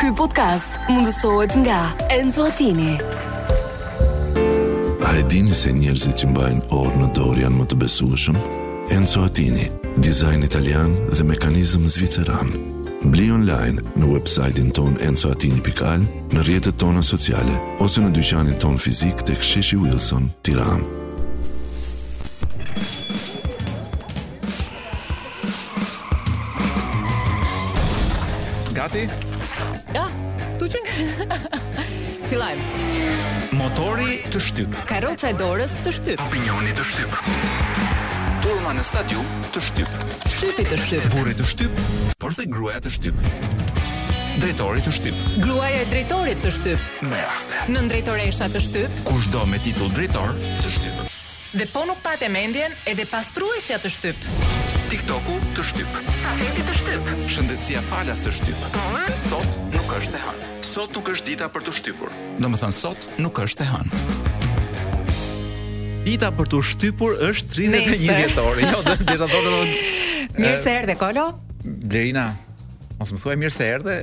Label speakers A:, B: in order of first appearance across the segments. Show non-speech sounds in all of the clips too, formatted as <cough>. A: Ky podcast mundësohet nga Enzo Attini.
B: A e dini se njerëzit që mbajnë orë në dorë janë më të besueshëm? Enzo Attini, dizajn italian dhe mekanizëm zviceran. Bli online në website-in ton enzoatini.al, në rjetët tona sociale, ose në dyqanin ton fizik të ksheshi Wilson, tiran.
C: Gati,
D: Ja, këtu që nga... <laughs> Filajmë.
C: motori të shtyp,
D: Karoca e dorës të shtyp.
C: opinioni të shtyp. Turma në stadium të shtyp,
D: Shtypi të shtyp.
C: burri të shtyp, por dhe gruaja të shtyp. Drejtori të shtyp,
D: Gruaja e drejtorit të shtyp.
C: me raste.
D: Nën drejtoresha të shtyp.
C: Kushdo me titull drejtor të shtyp.
D: Dhe po nuk pate mendjen, edhe pastruesja të shtyp.
C: TikToku të shtyp.
D: Safeti të shtyp.
C: Shëndetësia falas të shtyp. Por sot nuk është e hënë. Sot nuk është dita për të shtypur. Domethënë sot nuk është e hënë.
E: Dita për të shtypur është
C: <laughs>
E: 31
D: Nesër.
E: dhjetori. Jo, do të thotë domethënë
D: Mirë se erdhe Kolo.
E: Blerina, mos më thuaj mirë se erdhe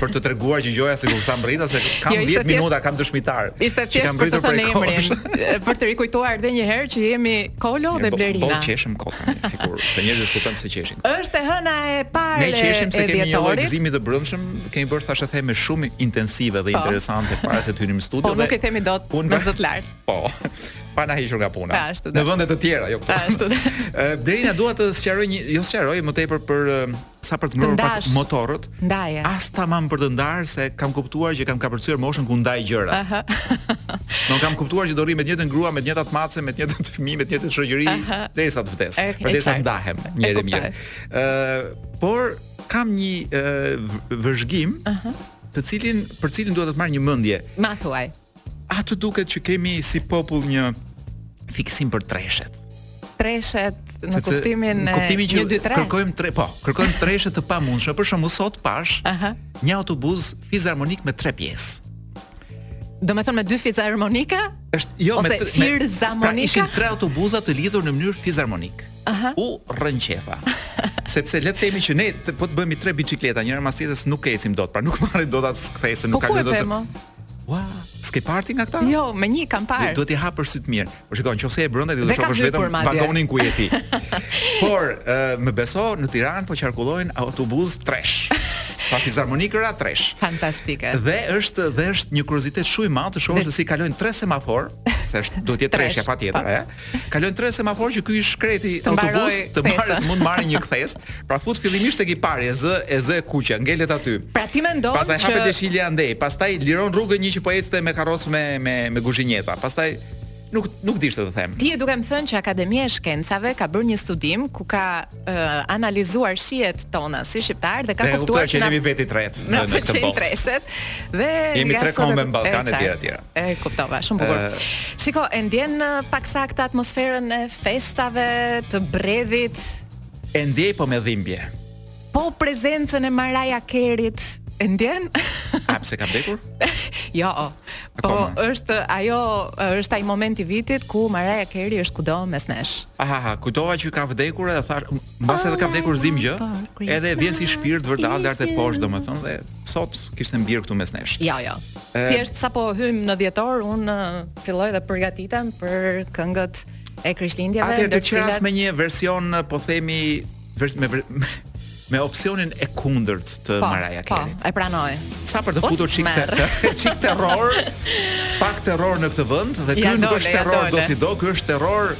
E: për të treguar që gjoja sikur sa mbrit ose kam
D: Jo, ishte
E: 10
D: thjesht-
E: minuta kam dëshmitar.
D: Ishte
E: që
D: thjesht
E: kam
D: për të
E: mbritur
D: thënë
E: prej kohësh.
D: emrin, për të rikujtuar edhe një herë që jemi Kolo dhe
E: Po- Po
D: Blerina.
E: qeshëm kotën, sikur të njerëzit diskutojnë se qeshin.
D: Është e hëna e parë
E: Ne qeshim se
D: e
E: kemi një lloj
D: dhjetorit.
E: gëzimi të brendshëm, kemi bërë thashë theme shumë intensive dhe
D: Po.
E: interesante para se të hynim në studio
D: Po, nuk e themi dot
E: unë
D: me
E: nga-
D: zot lart.
E: Po. <laughs> Pa na hequr nga puna.
D: Pa, ashtu do.
E: Në vende të tjera, jo këtu.
D: Pa, ashtu
E: <laughs>
D: do.
E: Ë, Blerina dua të sqaroj një, jo sqaroj, më tepër për ë, sa për të mbrojtur pak
D: ndash.
E: motorët.
D: Ndaje.
E: As tamam për të ndarë se kam kuptuar që kam kapërcyer moshën ku ndaj gjëra. <laughs> Aha. Nuk kam kuptuar që do rri me të njëjtën grua, me të njëjtat mace, me të njëjtën fëmijë, me të njëjtën shoqëri derisa të vdes.
D: E- e
E: Përderisa
D: qartë.
E: ndahem
D: E
E: mirë dhe
D: kuptoj.
E: mirë. Ë, por kam një ë, v- vëzhgim të cilin për cilin duhet të marr një mendje.
D: Ma thuaj.
E: A të duket që kemi si popull një fiksim për treshet?
D: Treshet në
E: Sepse
D: kuptimin
E: në
D: e
E: kuptimin që
D: 1 2 3.
E: kërkojmë tre, po, kërkojmë treshe të pamundshme. Për shembull sot pash
D: Aha.
E: një autobus fizarmonik me tre pjesë.
D: Do me thonë me dy fiza harmonika?
E: Është jo
D: Ose
E: me tre- me-
D: firzamonika?
E: Pra ishin tre autobuza të lidhur në mënyrë fizarmonik.
D: Aha.
E: U
D: <laughs>
E: rrënqefa. Sepse le të themi që ne të, po të bëhemi tre biçikleta njëra mas tjetrës nuk ecim dot, pra nuk marrim dot as kthesën,
D: Po
E: nuk
D: ku e
E: dot.
D: pe mo?
E: Ua, s'ke parti nga këta?
D: Jo, me një kam
E: Dhe
D: parë.
E: duhet i hapër sy të mirë. Por shikoj, nëse e brenda ti do
D: Dhe
E: të
D: ka
E: shohësh
D: hyrkur
E: vetëm
D: madje.
E: vagonin ku
D: <laughs>
E: je ti. Por ë, më beso në Tiranë po qarkullojnë autobus
D: <laughs>
E: tresh. Pa fizarmonikëra tresh.
D: Fantastike.
E: Dhe është dhe është një kuriozitet shumë i madh të shohësh
D: Dhe-
E: se si kalojnë tre semafor, se është duhet të jetë
D: Tresh,
E: treshja patjetër,
D: po.
E: ë. Kalojnë tre semafor që ky i shkreti
D: Të mbaroj
E: autobus të marrë
D: kthesën.
E: të mund marrë një kthesë, pra fut fillimisht tek i pari e z e z e kuqja, ngelet aty.
D: Pra ti mendon
E: Pastaj
D: që
E: hapet dëshilja andej, pastaj liron rrugën një që po ecte me karrocë me me me kuzhinjeta. Pastaj nuk nuk dishte të them.
D: Ti e duke më thënë që Akademia e Shkencave ka bërë një studim ku ka uh, analizuar shijet tona si shqiptar dhe ka
E: Dhe e
D: kuptuar
E: kuptoj që
D: na-
E: jemi veti tret
D: <laughs> na
E: në, në këtë
D: pëlqejnë
E: botë.
D: treshet dhe
E: Jemi
D: nga
E: tre
D: sot e-
E: kombe në Ballkan
D: e
E: e tjera,
D: qartë.
E: tjera.
D: E kuptova, shumë bukur. Shiko, e ndjen uh, pak saktë atmosferën e festave, të bredhit,
E: E ndjej po me
D: <laughs>
E: dhimbje.
D: po prezencën e Maraja Kerit. E ndjen?
E: A pse ka vdekur?
D: <laughs> jo. Po
E: Akoma.
D: është ajo është ai moment i vitit ku Maraja Carey është kudo mes nesh.
E: Aha, ha, kujtova që ka vdekur e thash, m- mbas edhe ka
D: Ah,
E: vdekur zim gjë,
D: po,
E: edhe vjen si shpirt vërdall lart e poshtë domethënë dhe sot kishte mbir këtu mes nesh.
D: Jo, jo. Thjesht sapo hym në dhjetor, un uh, filloj dhe përgatitem për këngët e Krishtlindjeve.
E: Atëherë të
D: ndër
E: qeras
D: cilat-
E: me një version po themi vers, me, ver- <laughs> me opsionin e kundërt të
D: Po,
E: Maraja Carey.
D: Po, e pranoj.
E: Sa për të
D: O,
E: futur çik
D: Po, merr.
E: ter- <laughs> çik terror, pak terror në këtë vend dhe ky
D: Ja
E: nuk
D: dole,
E: është
D: ja
E: terror
D: dole.
E: do si do, ky është terror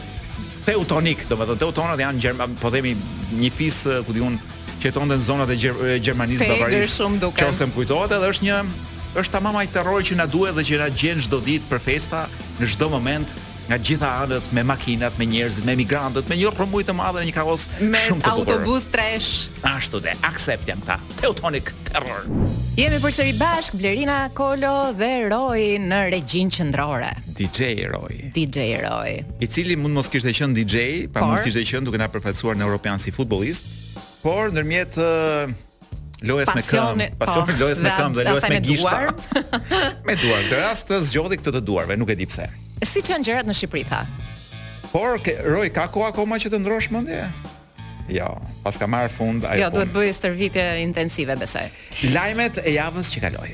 E: teutonik, domethënë teutonat janë gjerma, po themi një fis eh, ku diun që jetonte në zonat e Gjer e Gjermanisë
D: Tegër
E: Bavarisë.
D: shumë duken.
E: Nëse më kujtohet edhe është një është tamam ai terror që na duhet dhe që na gjen çdo ditë për festa në çdo moment nga gjitha anët me makinat, me njerëzit, me migrantët, me një rrëmuj të madh dhe një kaos
D: Me
E: shumë të bukur.
D: autobus tresh.
E: Ashtu dhe accept janë këta. Teutonic terror.
D: Jemi përsëri bashk Blerina Kolo dhe Roy në regjin qendrore.
E: DJ Roy.
D: DJ Roy.
E: i cili mund mos kishte qenë DJ, pra
D: Por?
E: mund kishte qenë duke na përfaqësuar në european si futbollist, por ndërmjet ë, lojës me këmbë,
D: Pasione-
E: pasion
D: po,
E: lojës me
D: dhe
E: këmbë dhe lojës
D: asaj
E: me
D: me
E: gishta.
D: duar.
E: <laughs> me duar. Në rast të zgjodhi këtë të duarve, nuk e di pse.
D: Si që gjërat në Shqipëri tha?
E: Por ke, Roy ka kohë akoma që të ndrosh mendje? Jo, pas ka marrë fund ajo.
D: Jo, duhet bëj stërvitje intensive besoj. Po,
E: bëj lajmet e javës që kaloi.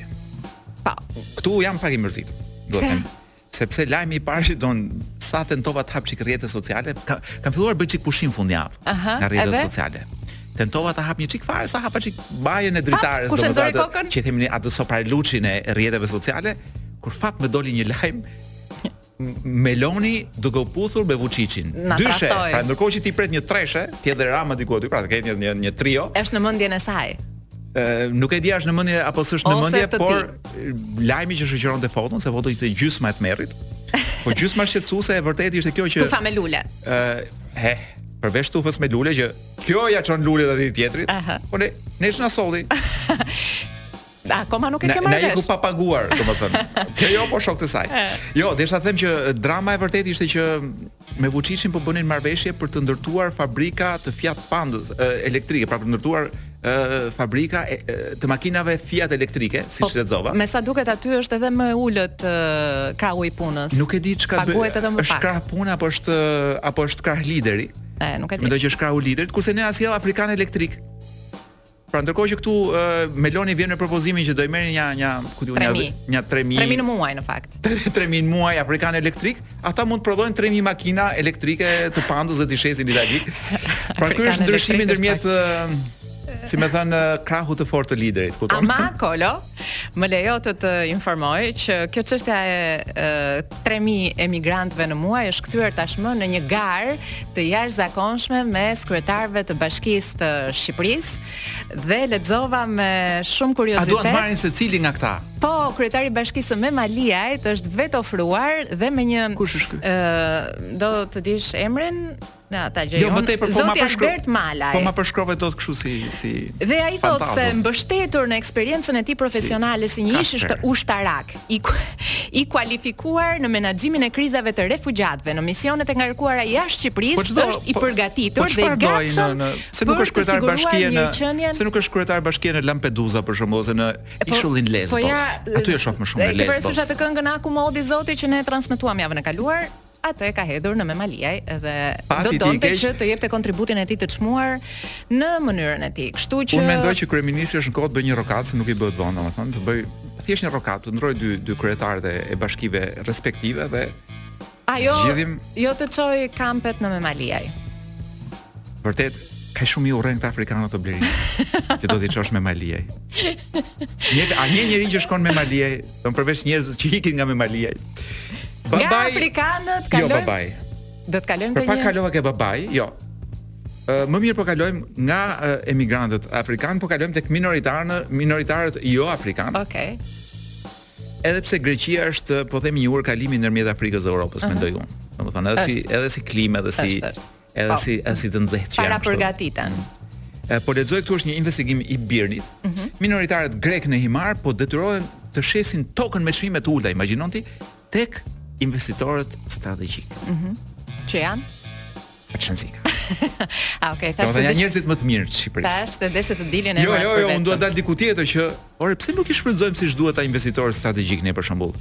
D: Pa.
E: Këtu jam pak i mërzitur. Do të
D: Pse?
E: them sepse lajmi i parë që don sa tentova të hap çik rrjetet sociale, ka, kam filluar të bëj çik pushim fundjavë
D: Aha,
E: nga rrjetet
D: edhe?
E: sociale. Tentova ta hap një çik fare sa hapa çik bajën e dritares,
D: kush e nxori
E: atë-
D: kokën?
E: që i themi ne atë soparluçin e rrjeteve sociale, kur fat më doli një lajm M- Meloni duke u puthur me Vučićin.
D: Na
E: Dyshe,
D: trahtoi.
E: pra ndërkohë që ti pret një treshe, ti edhe Rama diku aty, pra ke një një, një trio.
D: Është në mendjen e saj.
E: Ë, nuk e di a është në mendje apo s'është në
D: Ose
E: mendje,
D: të
E: por e, lajmi që shoqëronte foton se foto ishte gjysma e tmerrit. Po gjysma shqetësuese e vërtetë ishte kjo që
D: Tufa me lule.
E: ë he, përveç tufës me lule që kjo ja çon lulet aty tjetrit.
D: Aha.
E: Po ne ne na solli.
D: Akoma nuk e
E: Na
D: ke
E: na
D: marrë
E: iku
D: vesh. Eh.
E: pa paguar,
D: <laughs>
E: domethënë. Kjo jo po shok të saj. Jo, desha them që drama e vërtetë ishte që me Vučićin po bënin marrëveshje për të ndërtuar fabrika të Fiat Pandës e, elektrike, pra për të ndërtuar e, fabrika e, e, të makinave Fiat elektrike,
D: Po,
E: siç lexova.
D: Me sa duket aty është edhe më ulët ë, krahu i punës.
E: Nuk e di çka bëj.
D: Paguhet edhe më
E: Është
D: pak.
E: krah puna apo është apo është krah lideri?
D: E, nuk e di.
E: Mendoj që është krahu liderit, kurse ne asjell afrikan elektrik. Pra ndërkohë që këtu ë, Meloni vjen me propozimin që do i merrin një një ku diun një
D: Tremi.
E: një 3000
D: Tremi në muaj në fakt.
E: 3000 në muaj afrikan elektrik, ata mund të prodhojnë 3000 makina elektrike të pandës dhe të
D: <laughs>
E: shesin itali. Pra ky
D: Afrikan
E: është ndryshimi
D: elektrik
E: ndërmjet ë, si më thënë ë, krahu të fortë të liderit, kupton?
D: Ama Kolo, më lejo të të informoj që kjo çështja e, e 3000 emigrantëve në muaj është kthyer tashmë në një garë të jashtëzakonshme me kryetarëve të Bashkisë të Shqipërisë dhe lexova me shumë
E: <laughs> A
D: kuriozitet.
E: duan të marrin secili nga këta?
D: Po, kryetari i Bashkisë me Maliajt është vetë ofruar dhe me një
E: Kush është ky?
D: Eh, Ë, do të dish emrin? Na, ta gjej.
E: Jo, më tepër po ma
D: Zoti
E: përshkruaj.
D: Albert Malaj.
E: Po ma përshkrove dot kështu si si
D: Dhe ai thotë se
E: fantazëm.
D: mbështetur në eksperiencën e tij profesionale si një ish
E: kastër.
D: është ushtarak, i ku- i kualifikuar në menaxhimin e krizave të refugjatëve, në misionet e ngarkuara jashtë Shqipërisë, është i përgatitur
E: po
D: dhe i
E: çfarë doi në-
D: gatshëm
E: në- se nuk
D: për
E: është
D: të
E: kryetar
D: siguruar
E: bashkie në
D: mirëqenien-
E: se nuk është kryetar bashkie në Lampedusa për shembull ose në
D: Po,
E: ishullin Lesbos. Aty e shoh më shumë në
D: E ke
E: Lesbos.
D: parasysh atë këngën Aku Modi Zoti që ne e transmetuam javën e kaluar? Atë e ka hedhur në Memaliaj dhe
E: Pati
D: do
E: ti i
D: donte
E: keq.
D: që të jepte kontributin e tij të çmuar në mënyrën e tij. Kështu që
E: Unë mendoj që kryeministri është në kohë të bëjë një rokat se nuk i bëhet vonë, domethënë të bëj thjesht një rokat, të ndroj dy dy kryetarët e, e bashkive respektive dhe
D: ajo
E: zgjidhim-
D: jo të çoj kampet në Memaliaj.
E: vërtet ka shumë i urren këta afrikanët të
D: <laughs>
E: blerit që do t'i çosh me Maliaj. Një a një njerëz që shkon me Maliaj, do përveç njerëzve që ikin nga me Maliaj.
D: Nga afrikanët
E: Jo,
D: kalojmë
E: babaj.
D: do të kalojmë
E: Për
D: te
E: pak
D: një
E: kalova ke babaj, jo. Ë, Më mirë po kalojmë nga ë, emigrantët afrikanë, po kalojmë tek minoritarët, minoritarët jo afrikanë.
D: Okej.
E: Edhe pse Greqia është po themi një urë kalimi ndërmjet Afrikës dhe Europës, mendoj unë. Domethënë edhe si edhe si klimë edhe si
D: Është, është.
E: edhe
D: Po.
E: si edhe si të nxehtë që
D: Para
E: janë. kështu.
D: përgatiten.
E: E, Po lexoj këtu është një investigim i Birnit.
D: Mhm.
E: Minoritarët grek në Himar po detyrohen të shesin tokën me çmime të ulta, imagjinon ti, tek investitorët strategjik.
D: Që janë?
E: Atë shensi
D: <laughs>
E: ka.
D: Ah, okay, tash
E: Domethënë
D: të
E: janë
D: dish-
E: njerëzit më të mirë të Shqipërisë.
D: tash të deshë të diljen e
E: Jo,
D: emrat
E: jo, jo,
D: për
E: unë dua
D: vetëm.
E: të dal diku tjetër që, ore, pse nuk i shfrytëzojmë siç duhet ata investitorë strategjik ne për shembull?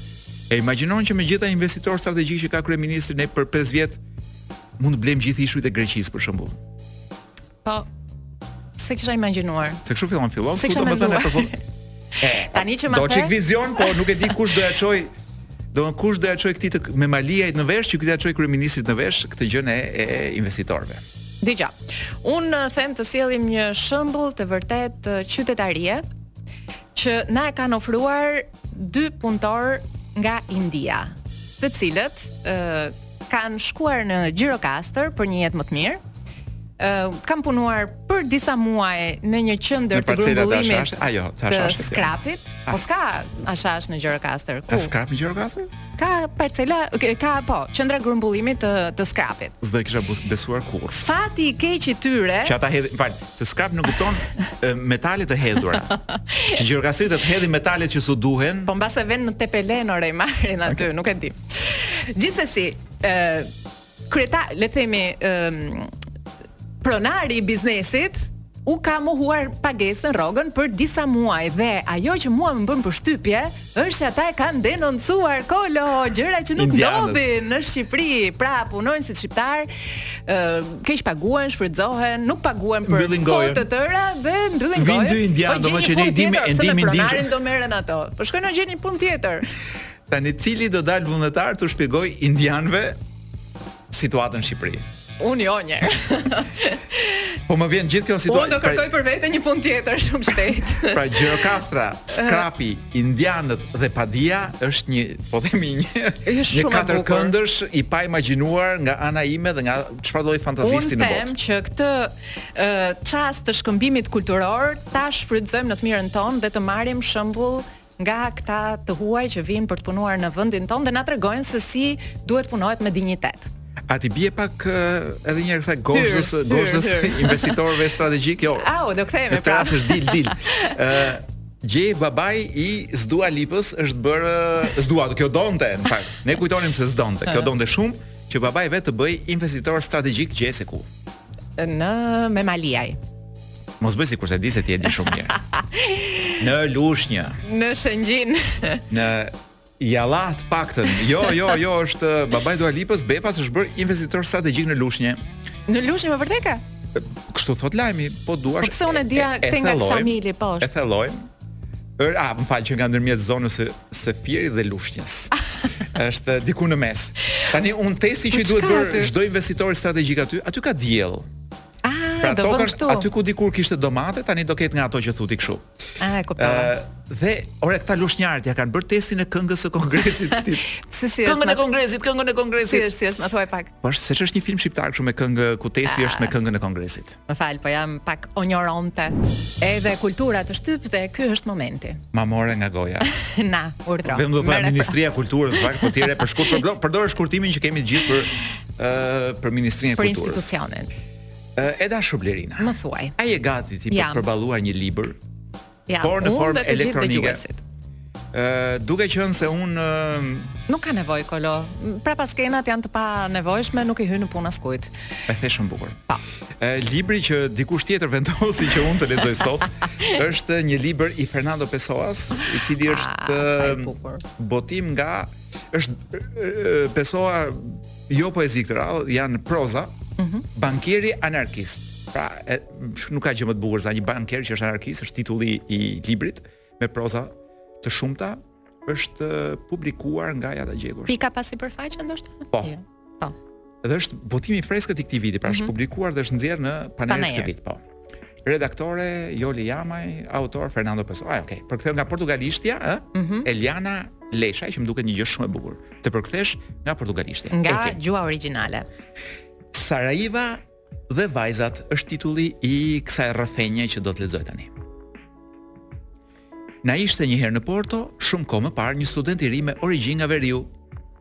E: E imagjinon që me gjitha investitor strategjik që ka kryeministri ne për 5 vjet mund të blejmë gjithë ishujt e Greqisë për shembull.
D: Po. Se kisha imagjinuar.
E: Se kështu fillon fillon,
D: Se kisha
E: këtu domethënë e
D: menduar. <laughs>
E: përfund.
D: Tani që më
E: Do çik
D: the-
E: vizion, po nuk e di kush do ja çoj Do në kush do ja çoj këtë të me Maliajt në vesh, që këtë ja çoj kryeministrit në vesh këtë gjën e, e investitorëve.
D: Dgjaj. Unë eh, them të sjellim një shembull të vërtet eh, qytetarie që na e kanë ofruar dy punëtor nga India, të cilët ë kanë shkuar në Gjirokastër për një jetë më të mirë. ë kanë punuar për disa muaj në një
E: Në
D: qendër të
E: parcela të
D: grumbullimit
E: ashash, a jo, të
D: të
E: ashash. e kjo.
D: skrapit. Po s'ka ashash në Gjirokastër.
E: Ka
D: Ku?
E: skrap në Gjirokastër?
D: Ka parcela, ka po, qendra grumbullimit të, të skrapit.
E: S'do e kisha bus- besuar kurrë.
D: Fati i keq i tyre
E: Që ata hedhin, fal, se skrap nuk kupton e, metale të
D: <laughs>
E: hedhura. Që gjirokastritët hedhin metalet që su duhen.
D: Po mbase vjen në Tepelen ore i marrin aty, nuk e di. Gjithsesi, ë kryeta, le të themi, ë pronari i biznesit u ka mohuar pagesën rrogën për disa muaj dhe ajo që mua më bën përshtypje është që ata e kanë denoncuar kolo gjëra që nuk
E: Indianët.
D: ndodhin në Shqipëri. Pra punojnë si shqiptar, ë keq paguhen, shfrytëzohen, nuk paguhen për
E: Mbyllin
D: kohë
E: gojën.
D: të tëra dhe mbyllin
E: Vin
D: gojën.
E: dy indianë,
D: po gjeni
E: domethënë që ne
D: punë
E: i dimë-
D: tjetër,
E: e
D: se me
E: dimë indin që-
D: pronarin do merren ato. Po shkojnë në gjeni punë tjetër.
E: Tani cili do dal vullnetar të shpjegoj indianëve situatën në Shqipëri.
D: Unë jo
E: <laughs>
D: një.
E: Po më vjen gjithë kjo
D: Unë
E: situatë.
D: do kërkoj për vete një punë tjetër shumë shpejt.
E: <laughs> Pra Gjirokastra, Skrapi, Indianët dhe Padia është një, po themi një
D: Është
E: një
D: shumë e
E: katër
D: bukur.
E: këndësh i pa imagjinuar nga ana ime dhe nga çfarë lloj fantazisti në
D: Unë them
E: botë.
D: që këtë ë, çast të shkëmbimit kulturor ta shfrytëzojmë në të mirën tonë dhe të marrim shembull nga këta të huaj që vinë për të punuar në vendin tonë dhe na tregojnë se si duhet punohet me dignitet.
E: A ti bie pak ë, edhe një herë kësaj gozhdës,
D: Hyr, hyr,
E: gozhdës
D: hyr.
E: investitorëve strategjik, jo.
D: Au, do kthehemi
E: Në
D: pra.
E: rast është dil
D: <laughs>
E: dil. Ë Gjej babai i Zdua Lipës është bërë Zdua, kjo donte në fakt. Ne kujtonim se s'donte,
D: <laughs>
E: kjo donte shumë që babai vet të bëj investitor strategjik gjese ku.
D: Në me Maliaj,
E: Mos bëj sikur se di se ti e di shumë
D: <laughs>
E: mirë. Në Lushnjë,
D: në Shëngjin.
E: në Jallat paktën. Jo, jo, jo, është babai Dua Lipës Bepas është bërë investitor strategjik në Lushnjë.
D: në Lushnjë me vërtetë? ka?
E: Kështu thot lajmi, po duash.
D: Po pse unë e dija
E: e
D: këtë nga
E: thellojmë,
D: Ksamili, po është.
E: E thellojmë. Ër, a, më falë që nga ndërmjet zonës së Sefirit dhe
D: <laughs>
E: Lushnjës. është diku në mes. Tani un testi
D: Po
E: që i duhet
D: çka aty?
E: bërë çdo investitor strategjik aty, aty ka diell.
D: Ah,
E: Pra
D: do vëm
E: toka
D: këtu.
E: aty ku dikur kishte domate, tani do ketë nga ato që thuti kështu.
D: Ah, e kuptova.
E: Ë, dhe ore këta lushnjarët ja kanë bërë testin e këngës së
D: <laughs>
E: kongresit këtij.
D: Pse si është?
E: këngën e
D: ma-
E: kongresit, këngën e
D: Si
E: kongresit.
D: është, si është, më thuaj pak.
E: Po është se ç'është një film shqiptar kështu me këngë ku testi
D: Ah.
E: është me këngën e kongresit.
D: Më fal, po jam pak onjoronte. Edhe kultura të shtyp dhe ky është momenti. <laughs>
E: Ma more nga goja.
D: Na, urdhro.
E: Vetëm
D: Merre
E: do të thoya
D: pra.
E: Ministria e Kulturës vak po tjerë për shkurt përdor përdor shkurtimin që kemi të gjithë për ë për Ministrinë e
D: për
E: Kulturës.
D: institucionin.
E: Ë, E dashur Blerina.
D: Më thuaj.
E: Ai e gati ti për
D: Jam.
E: të përballuar një libër,
D: Ja,
E: por në
D: unë
E: formë
D: dhe të gjithë
E: elektronike.
D: dëgjuesit.
E: ë Eh, duke qenë se un eh, e
D: Nuk ka nevojë kolo. Pra paskenat janë të pa nevojshme, nuk i hyn në punë askujt.
E: the shumë bukur. Pa. libri që dikush tjetër vendosi që unë të lexoj
D: <laughs>
E: sot është një libër i Fernando Pessoas, i cili
D: Ah,
E: është
D: sa i
E: ë,
D: bukur.
E: botim nga është ë, Pessoa jo poezi këtë radhë, janë proza.
D: Mhm.
E: Bankieri anarkist. Pra, e, nuk ka gjë më të bukur se një bankier që është anarkist, është titulli i librit me proza të shumta është ë, publikuar nga Jata Gjegur.
D: Pika pasi përfaqe ndoshta?
E: Po.
D: Jo. Po.
E: Dhe është botimi i freskët i këtij viti, pra është publikuar dhe është nxjerrë në panerin
D: Paner.
E: këtë vit, po. Redaktore Joli Jamaj, autor Fernando Pessoa. Ai, okay. Përktheu nga portugalishtja, ë? Eliana Lesha, që më duket një gjë shumë e bukur. Të përkthesh nga portugalishtja.
D: Nga
E: Eci.
D: gjua origjinale.
E: Sarajeva dhe vajzat është titulli i kësaj rrëfenje që do të lexoj tani. Na ishte një herë në Porto, shumë kohë më parë, një student i ri me origjinë nga veriu.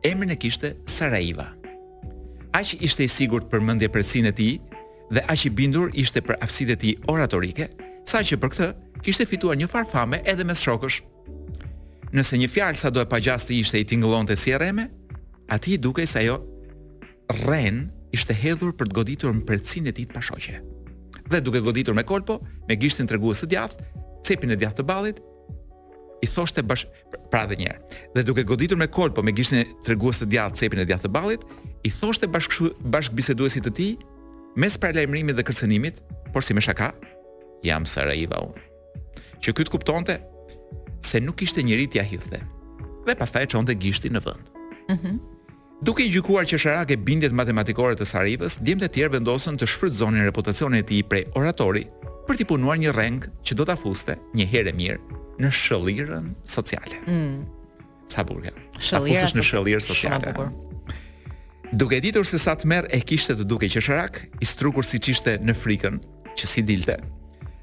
E: Emrin e kishte Sarajeva. Aq ishte i sigurt për mendjepresinë e tij dhe aq i bindur ishte për aftësitë e tij oratorike, saqë për këtë kishte fituar një farë fame edhe mes shokësh. Nëse një fjalë sado e pagjasti ishte i tingëllonte si erreme, atij i dukej se ajo Ren ishte hedhur për të goditur në përcin e tij të pashoqe. Dhe duke goditur me kolpo, me gishtin tregues të djathtë, cepin e djathtë të ballit, i thoshte bash pra edhe një herë. Dhe duke goditur me kolpo me gishtin e tregues të djathtë, cepin e djathtë të ballit, i thoshte bashk bashkëbiseduesit të tij mes paralajmërimit dhe kërcënimit, por si me shaka, jam Sarajeva unë. Që ky të kuptonte se nuk ishte njëri t'ia hidhte. Dhe pastaj e çonte gishtin në vend. Duke i gjykuar qesharake bindjet matematikore të Sarajevës, djemtë e tjerë vendosën të shfrytëzonin reputacionin e tij prej oratori për t'i punuar një reng që do ta fuste një herë e mirë në shëllirën sociale. Mm. Sa bukur. kjo. Ta
D: Shëllira
E: fusësh në
D: so-
E: shëllirë
D: shumë e
E: sociale.
D: bukur.
E: Duke ditur se sa të merr e kishte të duke qesharak, i strukur siç ishte në frikën që si dilte.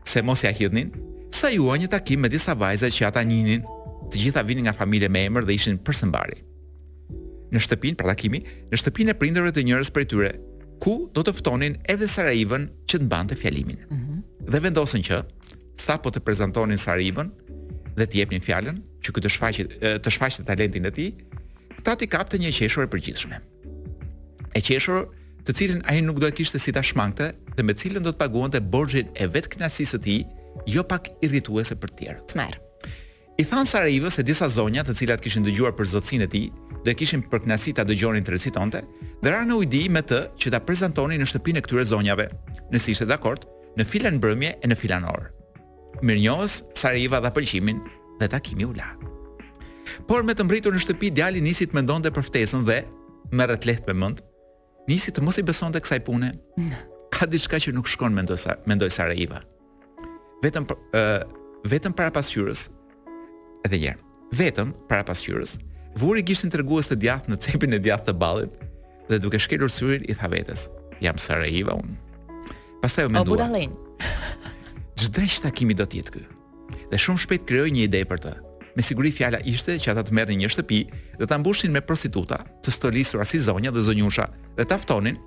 E: Se mos ja hidhnin, sa jua një takim me disa vajza që ata njinin, të gjitha vinin nga familje me emër dhe ishin përsëmbari në shtëpinë pra takimi, në shtëpinë e prindërve të njërës prej tyre, ku do të ftonin edhe Sarajevën që të mbante fjalimin. Dhe vendosën që sapo të prezantonin Sarajevën dhe të japnin fjalën që ky të shfaqet e, të shfaqte talentin e tij, këta t'i kapte një qeshur e përgjithshme. E qeshur të cilin ai nuk do e kishte si ta shmangte dhe me cilën do të paguante borxhin e vetknaqësisë së tij, jo pak irrituese për të tjerët.
D: Të merr.
E: I than Sarajevës se disa zonja të cilat kishin dëgjuar për zotësinë e tij, do e kishin për kënaqësi ta dëgjonin të recitonte, dhe ra në ujdi me të që ta prezantonin në shtëpinë e këtyre zonjave, nëse ishte dakord, në filan mbrëmje e në filan orë. Mirënjohës, Sarajeva dha pëlqimin dhe takimi u la. Por me të mbritur në shtëpi djali nisi të mendonte për ftesën dhe merret lehtë me mend, nisi të mos i besonte kësaj pune. Ka diçka që nuk shkon mendoj Sa- mendoj Sarajeva. Vetëm për, ë, vetëm para pasqyrës Edhe një herë. Vetëm para pasqyrës, vuri gishtin tregues të djathtë në cepin e djathtë të ballit dhe duke shkelur syrin i tha vetes, "Jam Sarajeva unë." Pastaj u
D: O
E: mendua,
D: budallin.
E: ç'dreq takimi do të jetë ky. Dhe shumë shpejt krijoi një ide për të. Me siguri fjala ishte që ata të merrnin një shtëpi dhe ta mbushin me prostituta, të stolisura si zonja dhe zonjusha dhe ta ftonin,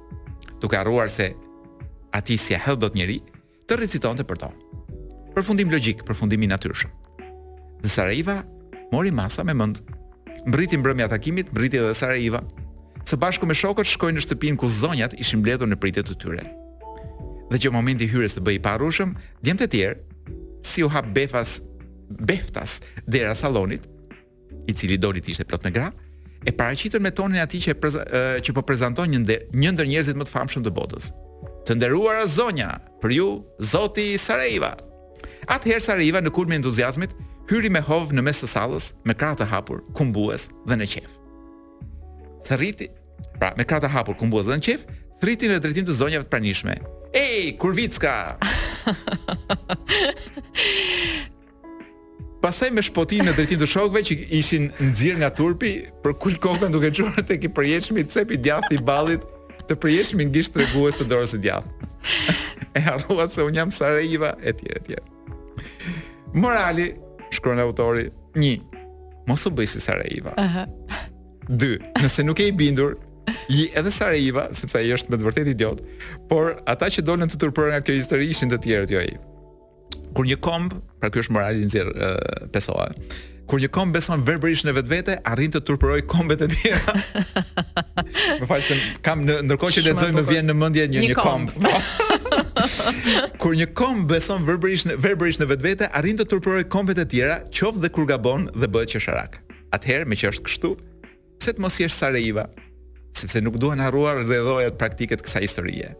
E: duke harruar se ati si e hedh dot njëri, të recitonte për to. Përfundim logjik, përfundim i natyrshëm. Dhe Sarajeva mori masa me mend. Mbriti mbrëmja e takimit, mbriti edhe Sarajeva. Së bashku me shokët shkojnë në shtëpinë ku zonjat ishin mbledhur në pritje të tyre dhe që momenti i hyrjes të bëi parushëm, djemt e tjerë si u hap befas beftas dera sallonit, i cili doli të ishte plot me gra, e paraqitën me tonin atij që e preza, e, që po prezanton një ndër, një ndër njerëzit më të famshëm të botës. Të nderuara zonja, për ju Zoti Sarajeva. Atëherë Sarajeva në kulmin e entuziazmit hyri me hov në mes të sallës, me krah të hapur, kumbues dhe në qef thërriti, pra me krata hapur ku mbuaz dhënë qef, thërriti në drejtim të zonjave të pranishme. Ej, Kurvicka! Pastaj me shpotin në drejtim të shokëve që ishin nxirr nga turpi, për kul kokën duke çuar tek i përjetshmi cepi djathtë i ballit, të përjetshmi ngisht tregues të dorës së djathtë. <laughs> e harrua se un jam Sarajeva etj etj. Morali, shkruan autori, 1. Mos u bëj si Sarajeva. 2. Nëse nuk e i bindur, i edhe Sarajeva, sepse ai është me të vërtetë idiot, por ata që dolën të turpërën nga kjo histori ishin të tjerët jo ai. Kur një komb, pra ky është morali i nxjerr uh, Pesoa. Kur një komb beson verbërisht në vetvete, arrin të turpëroj kombet e
D: <laughs>
E: tjera. më fal se kam në ndërkohë që
D: Shumë e
E: lexoj më
D: bukur.
E: vjen në mendje një
D: Një
E: një, komb. <laughs> kur një komb beson verbërisht në verbërisht në vetvete, arrin të turpëroj kombet e tjera, qoftë dhe kur gabon dhe bëhet qesharak. Atëherë, me që është kështu, pse të mos jesh Sarajeva? sepse nuk duan harruar rrëdhojat praktike të kësaj historie.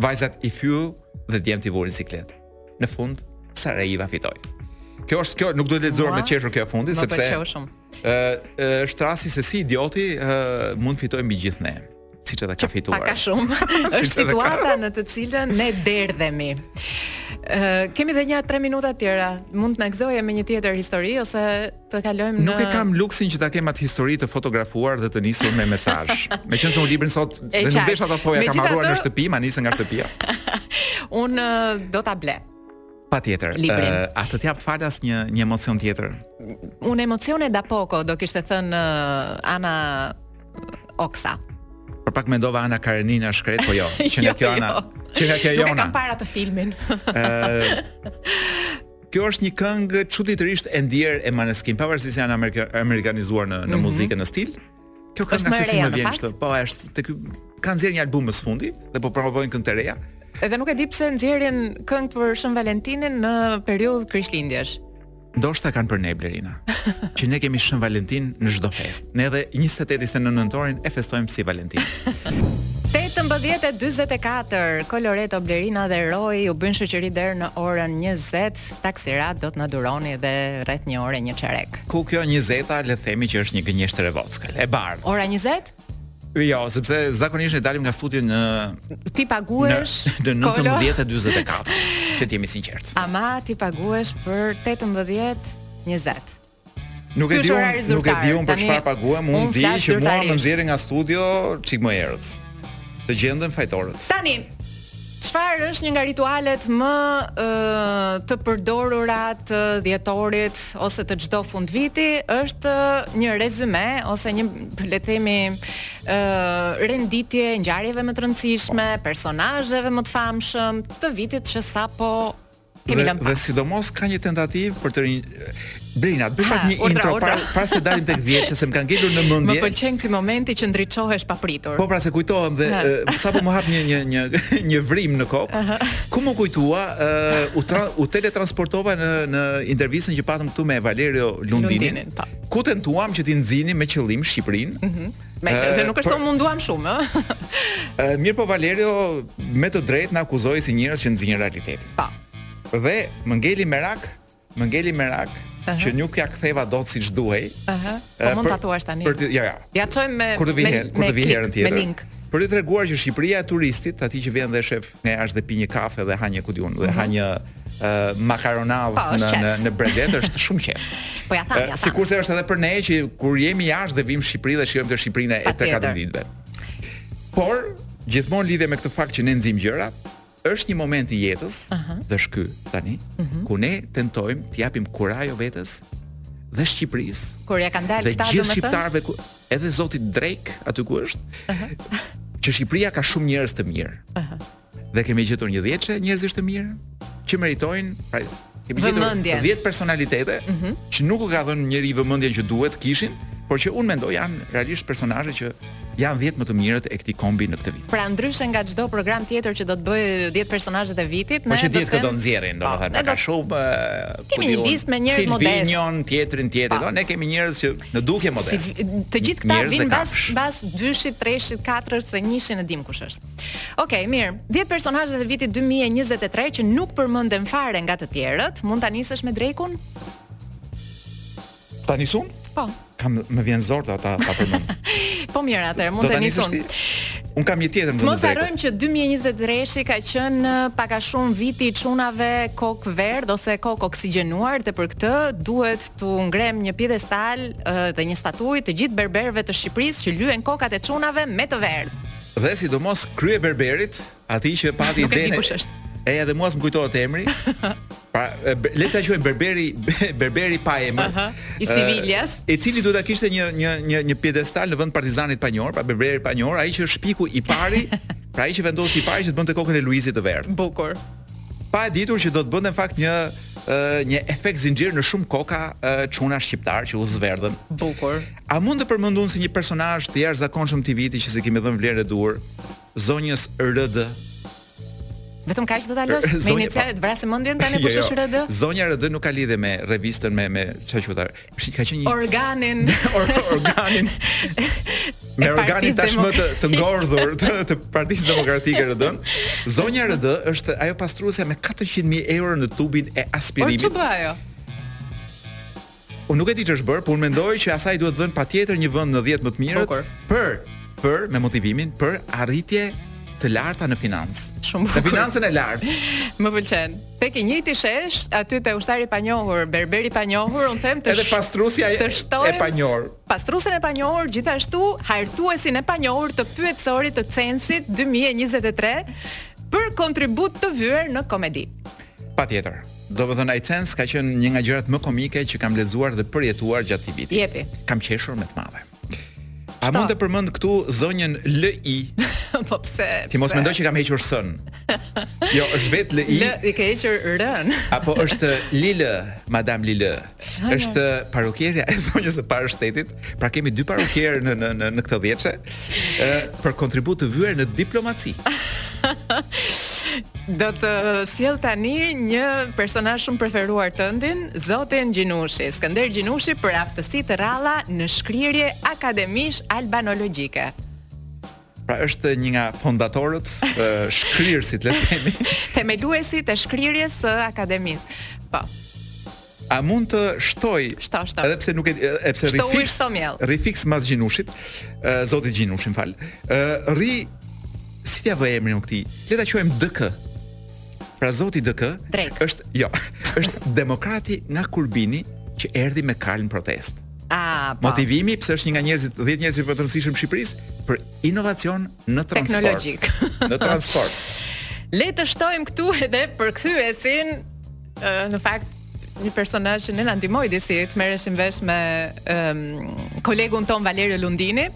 E: Vajzat i fyu dhe djemtë i vurin siklet. Në fund, Sarajeva fitoi. Kjo është kjo, nuk duhet lexuar
D: Ua,
E: me qeshur kjo e fundit
D: Më
E: sepse
D: pëlqeu shumë.
E: ë është rasti se si idioti ë mund fitojë mbi gjithë ne, siç edhe ka fituar.
D: Pak a
E: <laughs>
D: shumë. është
E: Si që dhe ka.
D: situata në të cilën ne derdhemi. Ë kemi edhe një 3 minuta tjera. Mund të na gëzoje me një tjetër histori ose të kalojmë
E: Nuk
D: në
E: e kam luksin që ta kem atë histori të fotografuar dhe të nisur me
D: <laughs>
E: mesazh. Meqense unë librin sot
D: E
E: dhe nuk
D: qartë.
E: desha ta thoja kam harruar
D: Megjithatë-
E: në shtëpi, ma nisën nga
D: <laughs>
E: shtëpia.
D: Un do ta ble.
E: Patjetër.
D: Librin.
E: ë, a të jap falas një një emocion tjetër?
D: Un emocione da poco do kishte thënë ë, Ana
E: <laughs>
D: Oksa.
E: Për pak mendova Ana Karenina shkret,
D: <laughs>
E: po jo, që nga
D: Jo,
E: kjo Ana,
D: jo.
E: që nga kjo
D: Nuk e
E: Jona.
D: kam para të filmin. <laughs>
E: Kjo është një këngë çuditërisht e ndjer e Maneskin, pavarësisht se janë amerika, amerikanizuar në në muzikë në stil. Kjo këngë
D: Mhm. Është
E: nga
D: më
E: se
D: e
E: si
D: reja,
E: më
D: në
E: vjen
D: fakt?
E: kështu. Po, është te ky kanë nxjerrë një album më së fundi dhe po promovojnë këngë të reja.
D: Edhe nuk e di pse nxjerrin këngë për Shën Valentinin në periudhë Krishtlindjesh.
E: Ndoshta kanë për ne
D: <laughs>
E: Blerina, që ne kemi Shën Valentin në çdo festë. Ne edhe 28-29 nëntorin e festojmë si Valentin.
D: 18:44 Coloreto Blerina dhe Roy u bën shoqëri deri në orën 20. Taksirat do të na duroni dhe rreth një ore një çerek.
E: Ku kjo 20-a le të themi që është një gënjeshtër e vockël, e bardhë.
D: Ora 20?
E: Jo, sepse zakonisht ne dalim nga studio në
D: Ti paguhesh
E: në në
D: Kolo?
E: 19:44, që të jemi sinqert.
D: Ama ti paguhesh për 18:20.
E: Nuk
D: Ky
E: e di
D: është
E: unë,
D: orari
E: nuk e di
D: zyrtar.
E: unë për
D: Tani,
E: çfarë paguam, unë
D: unë
E: di
D: flas
E: që mua më
D: zyrtarisht.
E: nxjerrin nga studio çik më erët. Të gjenden fajtorët.
D: Tani Çfarë është një nga ritualet më uh, të përdorura të dhjetorit ose të çdo fund viti është ë, një rezume ose një le të themi uh, renditje e ngjarjeve më të rëndësishme, personazheve më të famshëm të vitit që sapo kemi
E: Dhe,
D: lënë
E: dhe
D: pas.
E: sidomos ka një tentativë për të rinj... Brina, bëj pak
D: Ha,
E: një
D: urdhra,
E: intro
D: urdhra.
E: para para se dalim tek 10 që se më kanë ngelur në
D: Më
E: mendje.
D: pëlqen ky momenti që ndriçohesh pa pritur.
E: Po pra se kujtohem dhe
D: Ha.
E: e, sapo më hap një një një <laughs> një vrim në kokë. Ku më kujtua, e, u tra, u teletransportova në në intervistën që patëm këtu me Valerio Lundinin.
D: Lundinin, po. Mhm.
E: ku tentuam që ti nxjini me qëllim Shqipërinë.
D: Me që
E: Eh,
D: se nuk është
E: për-
D: se unë munduam shumë, ë.
E: E, Mirë po Valerio me të drejtë na akuzoi si njerëz që nxjinin realitetin.
D: <laughs> Po.
E: Dhe më ngeli merak, më ngeli merak
D: Aha.
E: që nuk ja ktheva dot siç duhej.
D: Aha. Po
E: E,
D: mund
E: për-
D: ta thuash tani.
E: Për të- jo, jo.
D: Ja çojmë me
E: Kur të vi
D: me-
E: herën, kur
D: me
E: të vi
D: klik,
E: herën
D: Me
E: tjetër.
D: link.
E: Për të treguar që Shqipëria e turistit, aty që vjen dhe shef nga jashtë dhe pi një kafe dhe ha një ku diun, dhe ha një uh, makaronavë
D: Mhm. Po, është
E: në, në
D: qef.
E: në bredet është shumë
D: <laughs>
E: qef.
D: Po ja tham,
E: Eh,
D: ja tham.
E: Sikurse është edhe për ne që kur jemi jashtë dhe vim në Shqipëri dhe shijojmë të Shqipërinë e
D: Patjetër.
E: 3-4 ditëve. Por gjithmonë lidhe me këtë fakt që ne nxjim gjërat, është një moment i jetës dhe shky tani,
D: Mhm.
E: ku ne tentojmë të japim kurajo vetes dhe Shqipërisë
D: Kur ja kanë dalë
E: dhe
D: këta
E: gjithë
D: domethënë.
E: shqiptarëve ku edhe zoti Drake aty ku është, që Shqipëria ka shumë njerëz të mirë. Dhe kemi gjetur një dhjetëshe njerëzish të mirë që meritojnë, pra kemi
D: Vëmendjen.
E: gjetur 10 personalitete
D: Mhm.
E: që nuk u ka dhënë njëri vëmendjen që duhet kishin, por që unë mendoj janë realisht personazhe që janë 10 më të mirët e këtij kombi në këtë vit.
D: Pra ndryshe nga çdo program tjetër që do të bëj 10 personazhet e vitit,
E: Po
D: ne
E: që
D: do
E: ditë
D: të
E: këtë do
D: kem-
E: nxjerrin,
D: Po, ne
E: domethënë
D: do
E: ka shumë eh, ku
D: Kemi një
E: diun,
D: listë me njerëz
E: Silvinion, tjetrin, tjetrin,
D: Pa.
E: do ne kemi njerëz që në dukje modest.
D: Si, të gjithë këta
E: Njerëz dhe
D: vinë mbas
E: kafsh.
D: mbas 2-shit, 3-shit, 4-shit, se 1-shin e dim kush është. Okej, mirë. 10 personazhet e vitit 2023 që nuk përmenden fare nga të tjerët, mund ta nisësh me Drekun?
E: Tani sun?
D: Po.
E: Kam më vjen zor ta ta ta përmend.
D: <laughs> Po mirë, atëherë
E: Do
D: mund
E: ta
D: të
E: nisësh
D: nisun.
E: ti? Un kam një tjetër në
D: Të
E: vend
D: mos
E: të drekut.
D: harrojmë që 2023-shi ka qenë eh, pak a shumë viti i çunave kok verdh ose kok oksigjenuar dhe për këtë duhet të ngrem një piedestal eh, dhe një statuj të gjithë berberëve të Shqipërisë që lyhen kokat e çunave me të verdh.
E: Dhe sidomos krye berberit, atij që pati
D: Nuk e di
E: idenë.
D: kush është.
E: E edhe mua s'm kujtohet
D: <laughs>
E: emri. Pra, e, be- le ta quajmë berberi berberi pa emër.
D: Aha, i
E: e,
D: Siviljas.
E: E cili duhet ta kishte një një një një piedestal në vend partizanit panjor, pra berberi panjor, ai që është shpiku i
D: <laughs>
E: pari, pra ai që vendosi i pari që të bënte kokën e Luizit të verdh.
D: Bukur.
E: pa e ditur që do të bënte në fakt një ë, një efekt zinxhir në shumë koka ë, çuna shqiptar që u zverdhën.
D: Bukur.
E: A mund të përmendun si një personazh të jashtëzakonshëm të viti që se kemi dhënë vlerë e duhur? Zonjës RD.
D: Vetëm kaq do ta lësh me
E: Zonja, Jo,
D: inicialet,
E: pa.
D: vrasë mendjen
E: <laughs>
D: tani kush është RD?
E: Zonja RD nuk ka lidhje me revistën me me çfarë quhet. ajo? Shi- Ka qenë një <laughs>
D: Organin.
E: or,
D: <laughs>
E: organin me
D: E
E: organin
D: Partisë
E: tashmë të, të
D: Demokratike.
E: ngordhur
D: <laughs>
E: të, të Partisë Demokratike RD-n. Zonja RD është ajo pastruese me 400.000 euro në tubin e
D: Por
E: aspirimit.
D: çu bë ajo?
E: Unë nuk e di ç'është bërë, por unë mendoj që asaj duhet dhënë patjetër një vend në 10 më të mirët
D: Bukur.
E: për për me motivimin për arritje të larta në financë.
D: Shumë
E: Në
D: bukur.
E: financën e lartë.
D: <laughs> Më pëlqen. Tek i njëjti shesh, aty te ushtari i panjohur, berberi i panjohur, un them të
E: Edhe
D: sh-
E: pastrusja e,
D: të
E: e
D: shtojmë-
E: panjor.
D: Pastrusen e panjohur, gjithashtu hartuesin e panjohur të pyetësorit të Censit 2023 për kontribut të vyer në komedi.
E: Patjetër. Do të thënë ai Cens ka qenë një nga gjërat më komike që kam lexuar dhe përjetuar gjatë këtij viti.
D: Jepi. <laughs>
E: Kam qeshur me të madhe. A mund të përmend këtu zonjën LI?
D: po pse?
E: Ti mos
D: pse?
E: mendoj që kam hequr sën. Jo, është vetë LI.
D: Lë, i ke hequr rën. <laughs>
E: Apo është Lilë, Madame Lilë. Është parukierja e zonjës së parë shtetit. Pra kemi dy parukierë në në në, në këtë dhjetëshe ë për kontribut të vyer në diplomaci.
D: Do të uh, sjell tani një personazh shumë preferuar tëndin, Zotin Gjinushi, Skënder Gjinushi për aftësitë të ralla në shkrirje akademish albanologjike.
E: Pra është një nga fondatorët, ë, shkrirësit le të themi.
D: <laughs> Themeluesi të shkrirjes së akademisë. Po,
E: A mund të shtoj?
D: Shto, shto.
E: Edhe pse nuk e e pse
D: Shto ujë,
E: rifiks.
D: shto mjell.
E: Rifiks mas gjinushit, ë zoti gjinushi, më fal. ë rri si t'ja vë emrin këtij? Le ta quajmë DK. Pra zoti DK
D: Drejk.
E: është jo, <laughs> është demokrati nga Kurbini që erdhi me kalën protest.
D: a, po.
E: Motivimi pse është një nga njerëzit 10 njerëzit më të rëndësishëm në Shqipërisë për inovacion në transport.
D: Teknologjik.
E: në
D: <laughs>
E: transport.
D: Le të shtojmë këtu edhe për kthyesin, ë, në fakt një personazh që ne na ndihmoi disi të merreshim vesh me um, kolegun ton Valerio Lundini.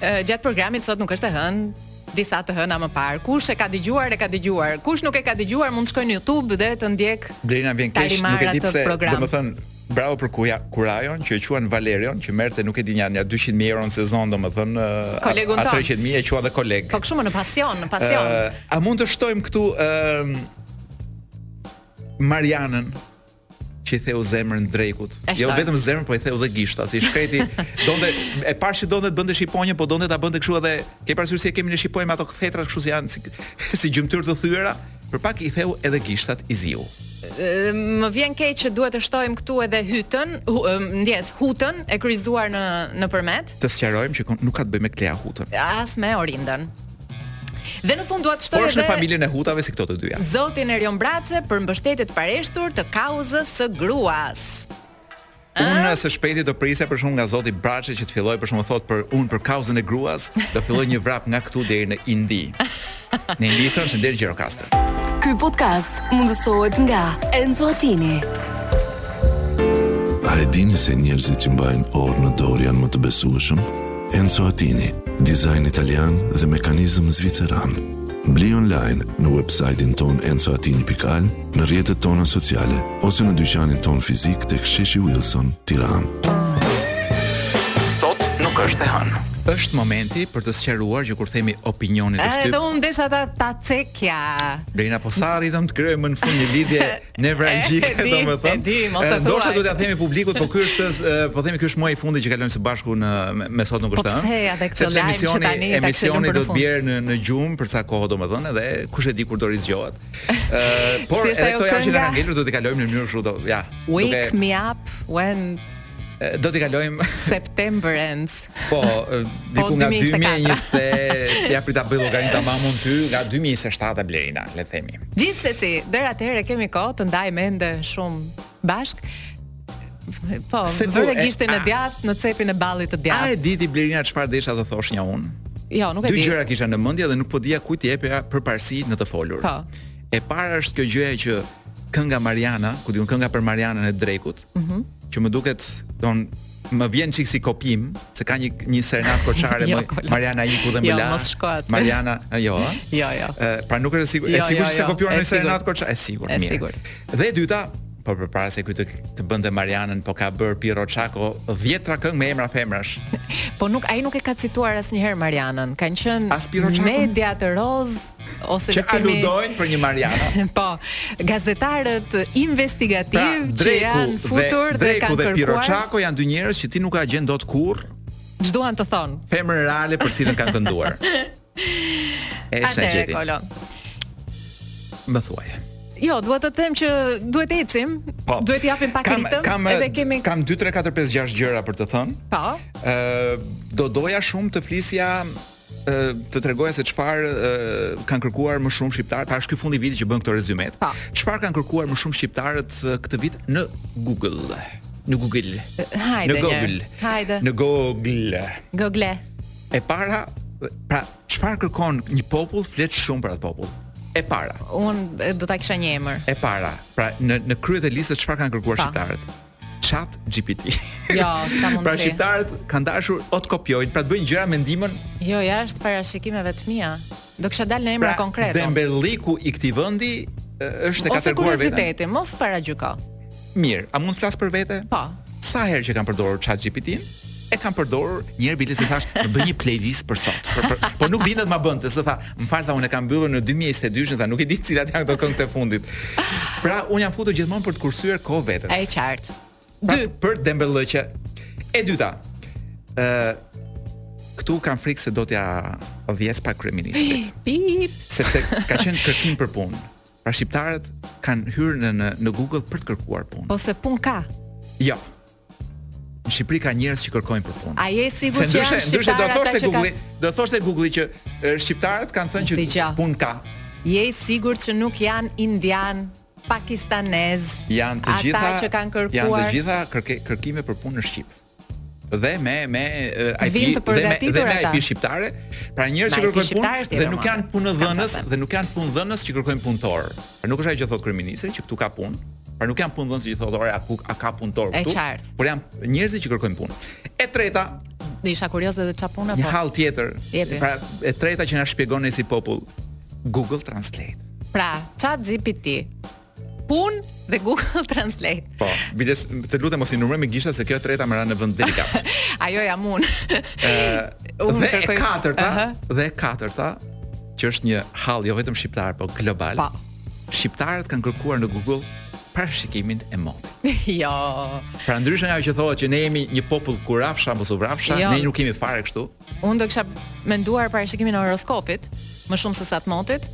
D: Ë, gjatë programit sot nuk është e hënë disa të hëna më parë. Kush e ka dëgjuar e ka dëgjuar. Kush nuk e ka dëgjuar mund të shkojë në YouTube dhe të ndjek
E: Blerina vjen keq, nuk e
D: Tarimara
E: di
D: të
E: pse,
D: program.
E: domethënë bravo për Kuja- Kurajon që e quan Valerion, që merrte nuk e di një 200 mijë euro në sezon, domethënë a-
D: Kolegun
E: a
D: ton.
E: 300 mijë e qua dhe koleg.
D: Po kështu më në pasion, në pasion.
E: Ë, a mund të shtojmë këtu ë Marianën që i theu zemrën drekut.
D: E
E: Jo
D: shtoj.
E: vetëm zemrën, po i theu dhe gishta, si shkreti. Donte e parë që donte të bënte shiponjë, po donte ta bënte kështu edhe ke parasysh se kemi në shiponjë me ato kthetra kështu si janë si, <laughs> si gjymtyr të thyera, për pak i theu edhe gishtat i ziu.
D: Ë, më vjen keq që duhet të shtojmë këtu edhe hytën, hu, ë, ndjes, hutën e kryzuar në nëpërmet,
E: Të sqarojmë që kon- nuk ka të bëjë me Klea Hutën.
D: as me orindën. Dhe në fund dua të
E: Por
D: shtoj
E: është në
D: edhe
E: familjen e Hutave si këto të dyja.
D: Zotin Erion Braçe për mbështetjet pareshtur të kauzës së gruas. Ah.
E: Unë së shpejti do prisja për shkakun nga Zoti Braçe që të filloj për shkakun thot për unë për kauzën e gruas, do filloj një vrap nga këtu deri në
D: <laughs>
E: Indi. Në Indi thonë se deri Gjirokastër.
A: Ky podcast mundësohet nga Enzo Attini.
B: A e dini se njerëzit që mbajnë orë në dorë janë më të besueshëm? Enzo Attini, dizajn italian dhe mekanizëm zviceran. Bli online në website-in ton enzoatini.al, në rjetët tona sociale, ose në dyqanin ton fizik të ksheshi Wilson, tiranë.
C: Sot nuk është e hënë.
E: Është momenti për të sqaruar që kur themi opinionin të
D: Ah, Edhe
E: shtyp,
D: unë desha ta ta cekja.
E: Blerina Posari dëm të krijojmë në fund një lidhje nevrangjike,
D: <laughs> E di,
E: domethënë.
D: e di, mos e
E: Eh, Ndoshta
D: thuaj.
E: duhet ta themi publikut, po ky është eh, po themi ky është muaji i fundit që kalojmë së bashku në me, me sot nuk
D: Po
E: është ëh.
D: pse edhe këtë
E: Sepse
D: lajm që
E: emisioni
D: tani ta
E: emisioni
D: kthejmë për
E: do
D: në
E: të
D: fund.
E: bjerë në në gjumë për sa kohë domethënë edhe kush e di kur
D: <laughs>
E: do rizgjohet. Ë por
D: Si është
E: edhe
D: ajo
E: këto janë që
D: kënga?
E: na kanë ngelur do t'i kalojmë në mënyrë kështu do ja.
D: Wake
E: duke-
D: me up when
E: eh, do t'i kalojmë <laughs>
D: September ends.
E: Po, eh, diku
D: Po,
E: nga
D: 2024.
E: <laughs> 2020, ja prita bëj llogarin tamam unë ty nga 2027 e Blerina, le të themi.
D: Gjithsesi, deri atëherë kemi kohë të ndaj mende shumë bashk. Po,
E: Se po,
D: vërë
E: e-
D: gishtin e
E: a-
D: djatë në cepin e ballit të
E: A e
D: djatë.
E: di ti Blerina çfarë desha të thosh një unë?
D: Jo, nuk e
E: Dy
D: di.
E: gjëra kisha në mendje dhe nuk po dija kujt i jepja përparësi në të folur.
D: Po.
E: E para është kjo gjëja që kënga Mariana, ku diun kënga për Marianën e Drekut,
D: Mhm.
E: që më duket, don më vjen çik si kopim, se ka një një serenad koçare
D: <laughs> Jo,
E: më
D: kolla.
E: Mariana iku dhe më
D: Jo,
E: la.
D: mos shko aty.
E: Mariana, a,
D: <laughs>
E: jo. a?
D: Jo, jo.
E: E, pra nuk është sigurt,
D: Jo,
E: e sigurt
D: jo,
E: se
D: jo,
E: kopjuar
D: e
E: në serenad
D: sigurt.
E: koçare, e sigurt,
D: E
E: mirë.
D: sigurt.
E: Dhe e dyta, po përpara se kujtë të bënte Marianën, po ka bër Piero Çako 10 këngë me emra femrash.
D: Po nuk ai nuk e ka cituar asnjëherë Marianën. Kan qenë
E: As Piro Çakun?
D: media të roz ose
E: Që
D: le të themi-
E: aludojnë për një Mariana.
D: <laughs> Po, gazetarët investigativ
E: Pra,
D: që
E: Dreku
D: janë futur dhe,
E: Dreku
D: kanë
E: dhe Piero
D: kërkuar
E: Çako janë dy njerëz që ti nuk ka gjen dot kurr
D: ç'duan të thonë.
E: femër reale për cilën kanë
D: <laughs>
E: kënduar. E shna
D: Atëherë
E: gjeti.
D: Kolo.
E: Më thuaj. Po.
D: Jo, duhet të them që duhet ecim, duhet i japim pak
E: kam,
D: ritëm,
E: kam,
D: edhe kemi
E: kam 2 3 4 5 6 gjëra për të thënë.
D: po.
E: Ë do doja shumë të flisja ë, të tregoja se çfarë ë, kanë kërkuar më shumë shqiptarët, pra është ky fundi i vitit që bën këto rezumet.
D: Pa.
E: Çfarë kanë kërkuar më shumë shqiptarët ë, këtë vit në Google? Në Google.
D: hajde
E: në
D: njerë.
E: Google.
D: Hajde.
E: Në Google.
D: Google.
E: E para, pra çfarë kërkon një popull flet shumë për atë popull. E para,
D: Un e, do ta kisha një emër.
E: e para. Pra në në krye të listës çfarë kanë kërkuar
D: Pa.
E: shqiptarët? Chat GPT.
D: Jo, s'ka mundësi.
E: Pra shqiptarët kanë dashur ot kopjojnë, pra të bëjnë gjëra me ndihmën
D: Jo, jashtë parashikimeve të mia. Do kisha dalë në emra
E: pra
D: konkret. unë.
E: Dembeliku i këtij vendi e, është e ka
D: Ose
E: treguar vetën.
D: kurioziteti, mos paragjyko.
E: Mirë, a mund të flas për vete?
D: Po.
E: Sa herë që kanë përdorur ChatGPT-n, e kanë përdorur një herë bile se thash, <laughs> "Më bëj një playlist për sot." Për, për, po nuk dinë të ma bënte, se tha, "Më fal tha unë e kam mbyllur në 2022-shën, tha nuk e di cilat janë këto këngë të fundit." Pra, unë jam futur gjithmonë për të kursyer kohë vetes.
D: Ai qartë.
E: Pra,
D: Dy.
E: për Dembele që e dyta. Ë këtu kam frikë se do t'ja vjes pa kryeministrit,
D: Pip.
E: sepse ka qenë kërkim për punë. Pra shqiptarët kanë hyrë në në, në Google për të kërkuar punë.
D: Ose pun ka.
E: Jo. Në Shqipëri ka njerëz që kërkojnë për punë.
D: A je
E: Se
D: sigurt që
E: ndryshe,
D: janë
E: ndryshe do
D: shqiptarë ata
E: thoshte
D: që
E: Google,
D: kanë?
E: do thoshte Google që e, shqiptarët kanë thënë që
D: Dëgja.
E: punë ka.
D: Je sigurt që nuk janë indian, pakistanez,
E: Janë të gjitha
D: ata që kanë kërkuar
E: janë të gjitha kërke, kërkime për punë në Shqip. Dhe me me e,
D: Vinë
E: IP
D: të
E: dhe me dhe
D: përgatitur
E: me
D: ata.
E: IP shqiptare, pra njerëz
D: Ma,
E: që
D: IP
E: kërkojnë
D: shqiptare është
E: punë dhe
D: tjetër,
E: nuk
D: ma.
E: janë punëdhënës
D: S'kam qafe.
E: dhe nuk janë punëdhënës që kërkojnë punëtor. Pra nuk është ajo që thot kryeministri që këtu ka punë. Pra nuk janë punëdhënës që thotë, "Ore, a ku a ka punëtor
D: E
E: këtu?"
D: qartë.
E: Por janë njerëz që kërkojnë punë. E treta,
D: Do isha kurioze edhe çfarë puna
E: një
D: po.
E: hall tjetër.
D: Jepi.
E: Pra e treta që na shpjegon ne si popull, Google Translate.
D: Pra, Chat GPT punë dhe Google <laughs> Translate.
E: Po, biles, të lutem mos i numëroj me gishta se kjo e treta më ra në vend
D: <laughs>
E: delikat.
D: Ajo jam unë. <laughs> Unë
E: dhe e
D: kërkoj-
E: katërta,
D: Aha.
E: dhe e katërta, që është një hall jo vetëm shqiptar, po global.
D: Po. <laughs>
E: Shqiptarët kanë kërkuar në Google parashikimin e motit.
D: jo.
E: Pra ndryshe nga ajo që thohet që ne jemi një popull kurafsha mos u vrafsha,
D: Jo.
E: ne nuk kemi fare kështu.
D: Unë do kisha menduar para shikimin e horoskopit, më shumë se sa të motit,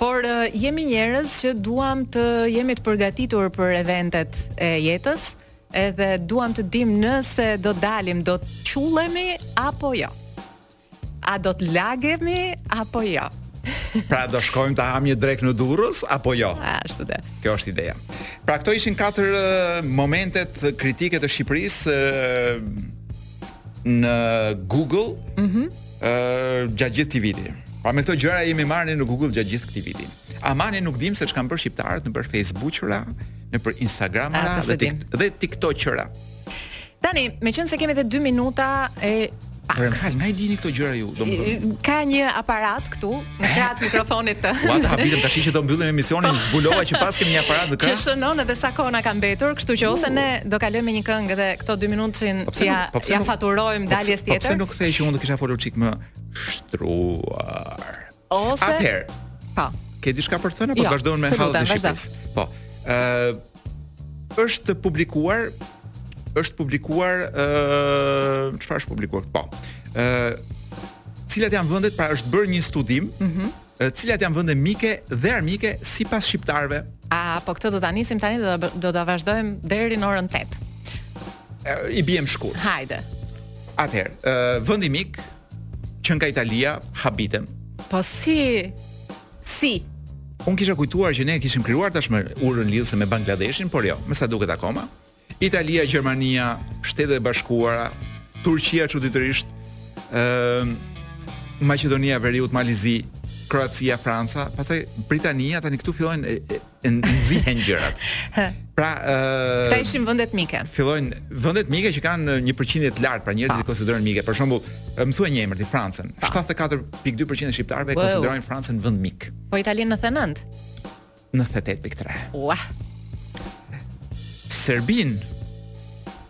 D: por eh, jemi njerëz që duam të jemi të përgatitur për eventet e jetës, edhe duam të dim nëse do dalim, do të qullemi apo jo. A do të lagemi apo jo.
E: Pra do shkojmë ta ham një drek në Durrës apo jo?
D: Ashtu dhe.
E: Kjo është ideja. Pra këto ishin katër eh, momentet kritike të Shqipërisë eh, në Google. Mhm. gjatë gjithë këtij viti. Pra me këto gjëra jemi marrë në Google gjatë gjithë këtij viti. Amani nuk dim se ç'kan bërë shqiptarët nëpër Facebook-ra, nëpër Instagram-ra
D: A, po
E: dhe,
D: se
E: tik dhe TikTok-ra.
D: Tani, me qënë se kemi edhe 2 minuta e
E: Por më fal, nga i dini këto gjëra ju, <laughs> domethënë?
D: ka një aparat këtu në krahat mikrofonit të
E: Ua ta
D: <laughs>
E: habitëm tash që do mbyllim emisionin, zbulova Po. <laughs> që pas kemi një aparat në
D: që
E: krah.
D: shënon edhe sa kohë na ka mbetur, kështu që ose ne do kalojmë me një këngë dhe këto 2 minutë
E: Po
D: që
E: pse
D: ja,
E: nuk- po pse
D: ja
E: nuk-
D: faturojmë
E: po pse-
D: daljes
E: Po pse
D: tjetër,
E: nuk kthej që unë do kisha folur çik më shtruar.
D: ose
E: Atëherë,
D: po.
E: ke diçka për të thënë apo
D: Jo,
E: vazhdojmë me
D: të
E: hallet e
D: lutem, vazhdo.
E: Shqipërisë? Po. Ë është publikuar është publikuar ë çfarë është publikuar? Po. ë cilat janë vendet, pra është bërë një studim,
D: Mhm.
E: ë, cilat janë vende mike dhe armike sipas shqiptarëve.
D: A po këtë do ta nisim tani dhe do ta bë- do ta vazhdojmë deri në orën 8.
E: Ë, I biem shkurt.
D: Hajde.
E: Atëherë, ë vendi mik që nga Italia habitem.
D: Po si si
E: Unë kisha kujtuar që ne kishim krijuar tashmë urën lidhëse me Bangladeshin, por jo, me sa duket akoma. Italia, Gjermania, Shtetet e Bashkuara, Turqia çuditërisht, ëm Maqedonia e Veriut, Malizi, Kroacia, Franca, pastaj Britania, tani këtu fillojnë e- e- e nxihen gjërat.
D: <laughs>
E: Pra, ë
D: këta ishin vendet mike.
E: fillojnë vendet mike që kanë një përqindje të lartë, pra njerëzit i konsiderojnë mike. Për shembull, më thuaj një emër ti Francën. 74.2% e shqiptarëve e
D: Wow.
E: konsiderojnë Francën vend mik.
D: Po Italinë 99.
E: 98.3.
D: Ua,
E: Serbin.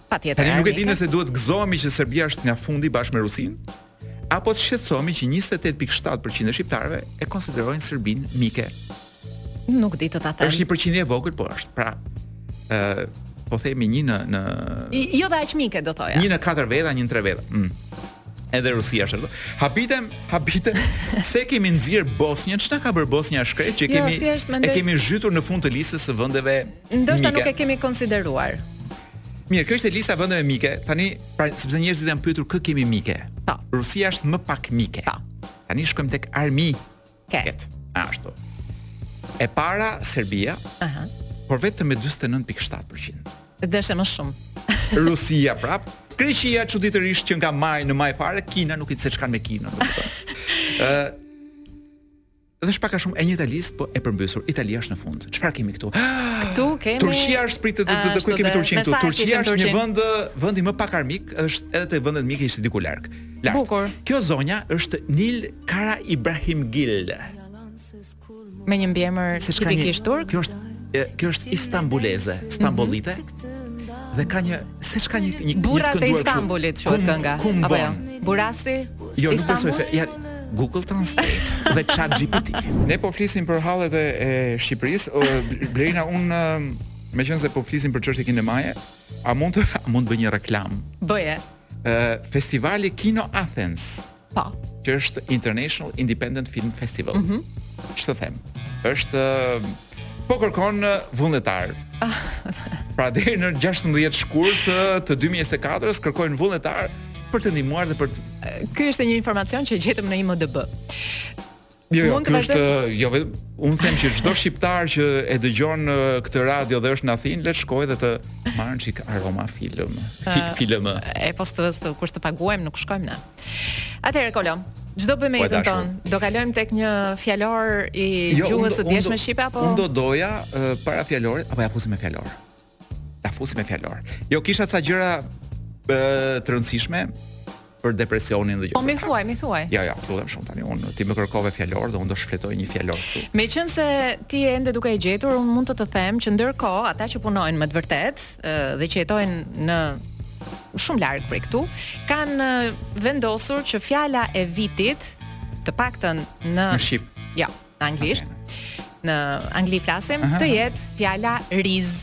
D: patjetër.
E: Tani nuk e di
D: armike.
E: nëse duhet gëzohemi që Serbia është nga fundi bashkë me Rusinë, apo të shqetësohemi që 28.7% e shqiptarëve e konsiderojnë Serbin mike.
D: nuk di të ta them.
E: Është një përqindje e vogël, po është. Pra, ë po themi një në në
D: I- Jo dhe aq mike do thoja.
E: një në katër veta, një në tre veta. Mm. Edhe Rusia është ato. Habitem,
D: <laughs>
E: habitem. Se kemi nxjerr Bosnjën, ç'na ka bër Bosnja shkret që
D: Jo,
E: kemi
D: thjesht
E: e
D: mendoj-
E: kemi zhytur në fund të listës së vendeve.
D: Ndoshta
E: mike.
D: nuk e kemi konsideruar.
E: Mirë, kjo ishte lista e vendeve mike. Tani, pra, sepse njerëzit janë pyetur kë kemi mike.
D: Po.
E: Rusia është më pak mike.
D: Po.
E: Tani shkojmë tek armi.
D: Ke.
E: Ket. Ashtu. E para Serbia,
D: Aha.
E: por vetëm me 49.7%.
D: Dhe është më shumë.
E: Rusia prap, Greqia çuditërisht që nga maj në maj fare, Kina nuk i di se ç'kan me Kinën, do të thotë. Ë dhe është pak a shumë e njëjta listë, po e përmbysur. Italia është në fund. Çfarë kemi këtu?
D: Këtu kemi Ah,
E: Turqia është pritet të të ku
D: Ashtu
E: kemi
D: dhe,
E: Turqin
D: me
E: këtu.
D: sa e
E: Turqia
D: kishim
E: është një
D: Turqin?
E: vend vendi më pak armik, është edhe te vendet mike ishte diku larg. Lart.
D: Bukur.
E: Kjo zonja është Nil Kara Ibrahimgil.
D: me një mbiemër tipikisht turk.
E: Kjo është e, kjo është istambuleze, stambolite. Dhe ka një se çka një një
D: Mhm. Burrat e
E: kënduar kështu.
D: Istanbulit
E: Kum-
D: quhet kënga.
E: Kumbon.
D: Apo jo? Burasi
E: Jo, nuk
D: Istanbul?
E: besoj se ja Google Translate dhe ChatGPT. <laughs> Ne po flisim për hallet e, e Shqipërisë. o, um, Blerina, unë meqense po flisim për çështje kinemaje, a mund të a mund të bëj një reklam?
D: Bëje.
E: Ë, Festivali Kino Athens,
D: Po.
E: që është International Independent Film Festival. Ç'të them? Është ë, po kërkon ë, vullnetar. Pra deri në 16 shkurt ë, të 2024-s kërkojnë vullnetar për të ndihmuar dhe për të
D: Ky është një informacion që gjetëm në IMDb.
E: Jo, jo,
D: Mund të
E: kjo është jo vetëm unë them që çdo shqiptar që e dëgjon eh, këtë radio dhe është në Athinë, le të shkojë dhe të marrë një çik aroma film. Fi, film.
D: Ah, E postës të kur të paguajmë nuk shkojmë ne. Atëherë Kolo, çdo bëjmë me
E: Po, e
D: jetën
E: dashur. Jo,
D: tonë. Do kalojmë tek një fjalor i gjuhës së djeshme shqipe apo
E: Unë do doja eh, para fjalorit apo ja fusim me fjalor. Ta fusim me fjalor. Jo kisha ca gjëra eh, të rëndësishme për depresionin dhe gjë.
D: Po mi thuaj, mi thuaj.
E: Ja, ja, lutem shumë tani. Unë ti më kërkove fjalor dhe unë do shfletoj një fjalor këtu.
D: Me qënë se ti e ende duke e gjetur, unë mund të të them që ndërko ata që punojnë më të vërtet ë, dhe që jetojnë në shumë largë për këtu, kanë ë, vendosur që fjala e vitit, të paktën në...
E: Në shqip.
D: Ja, në Jo, anglisht, në angli flasim, të jetë fjala riz.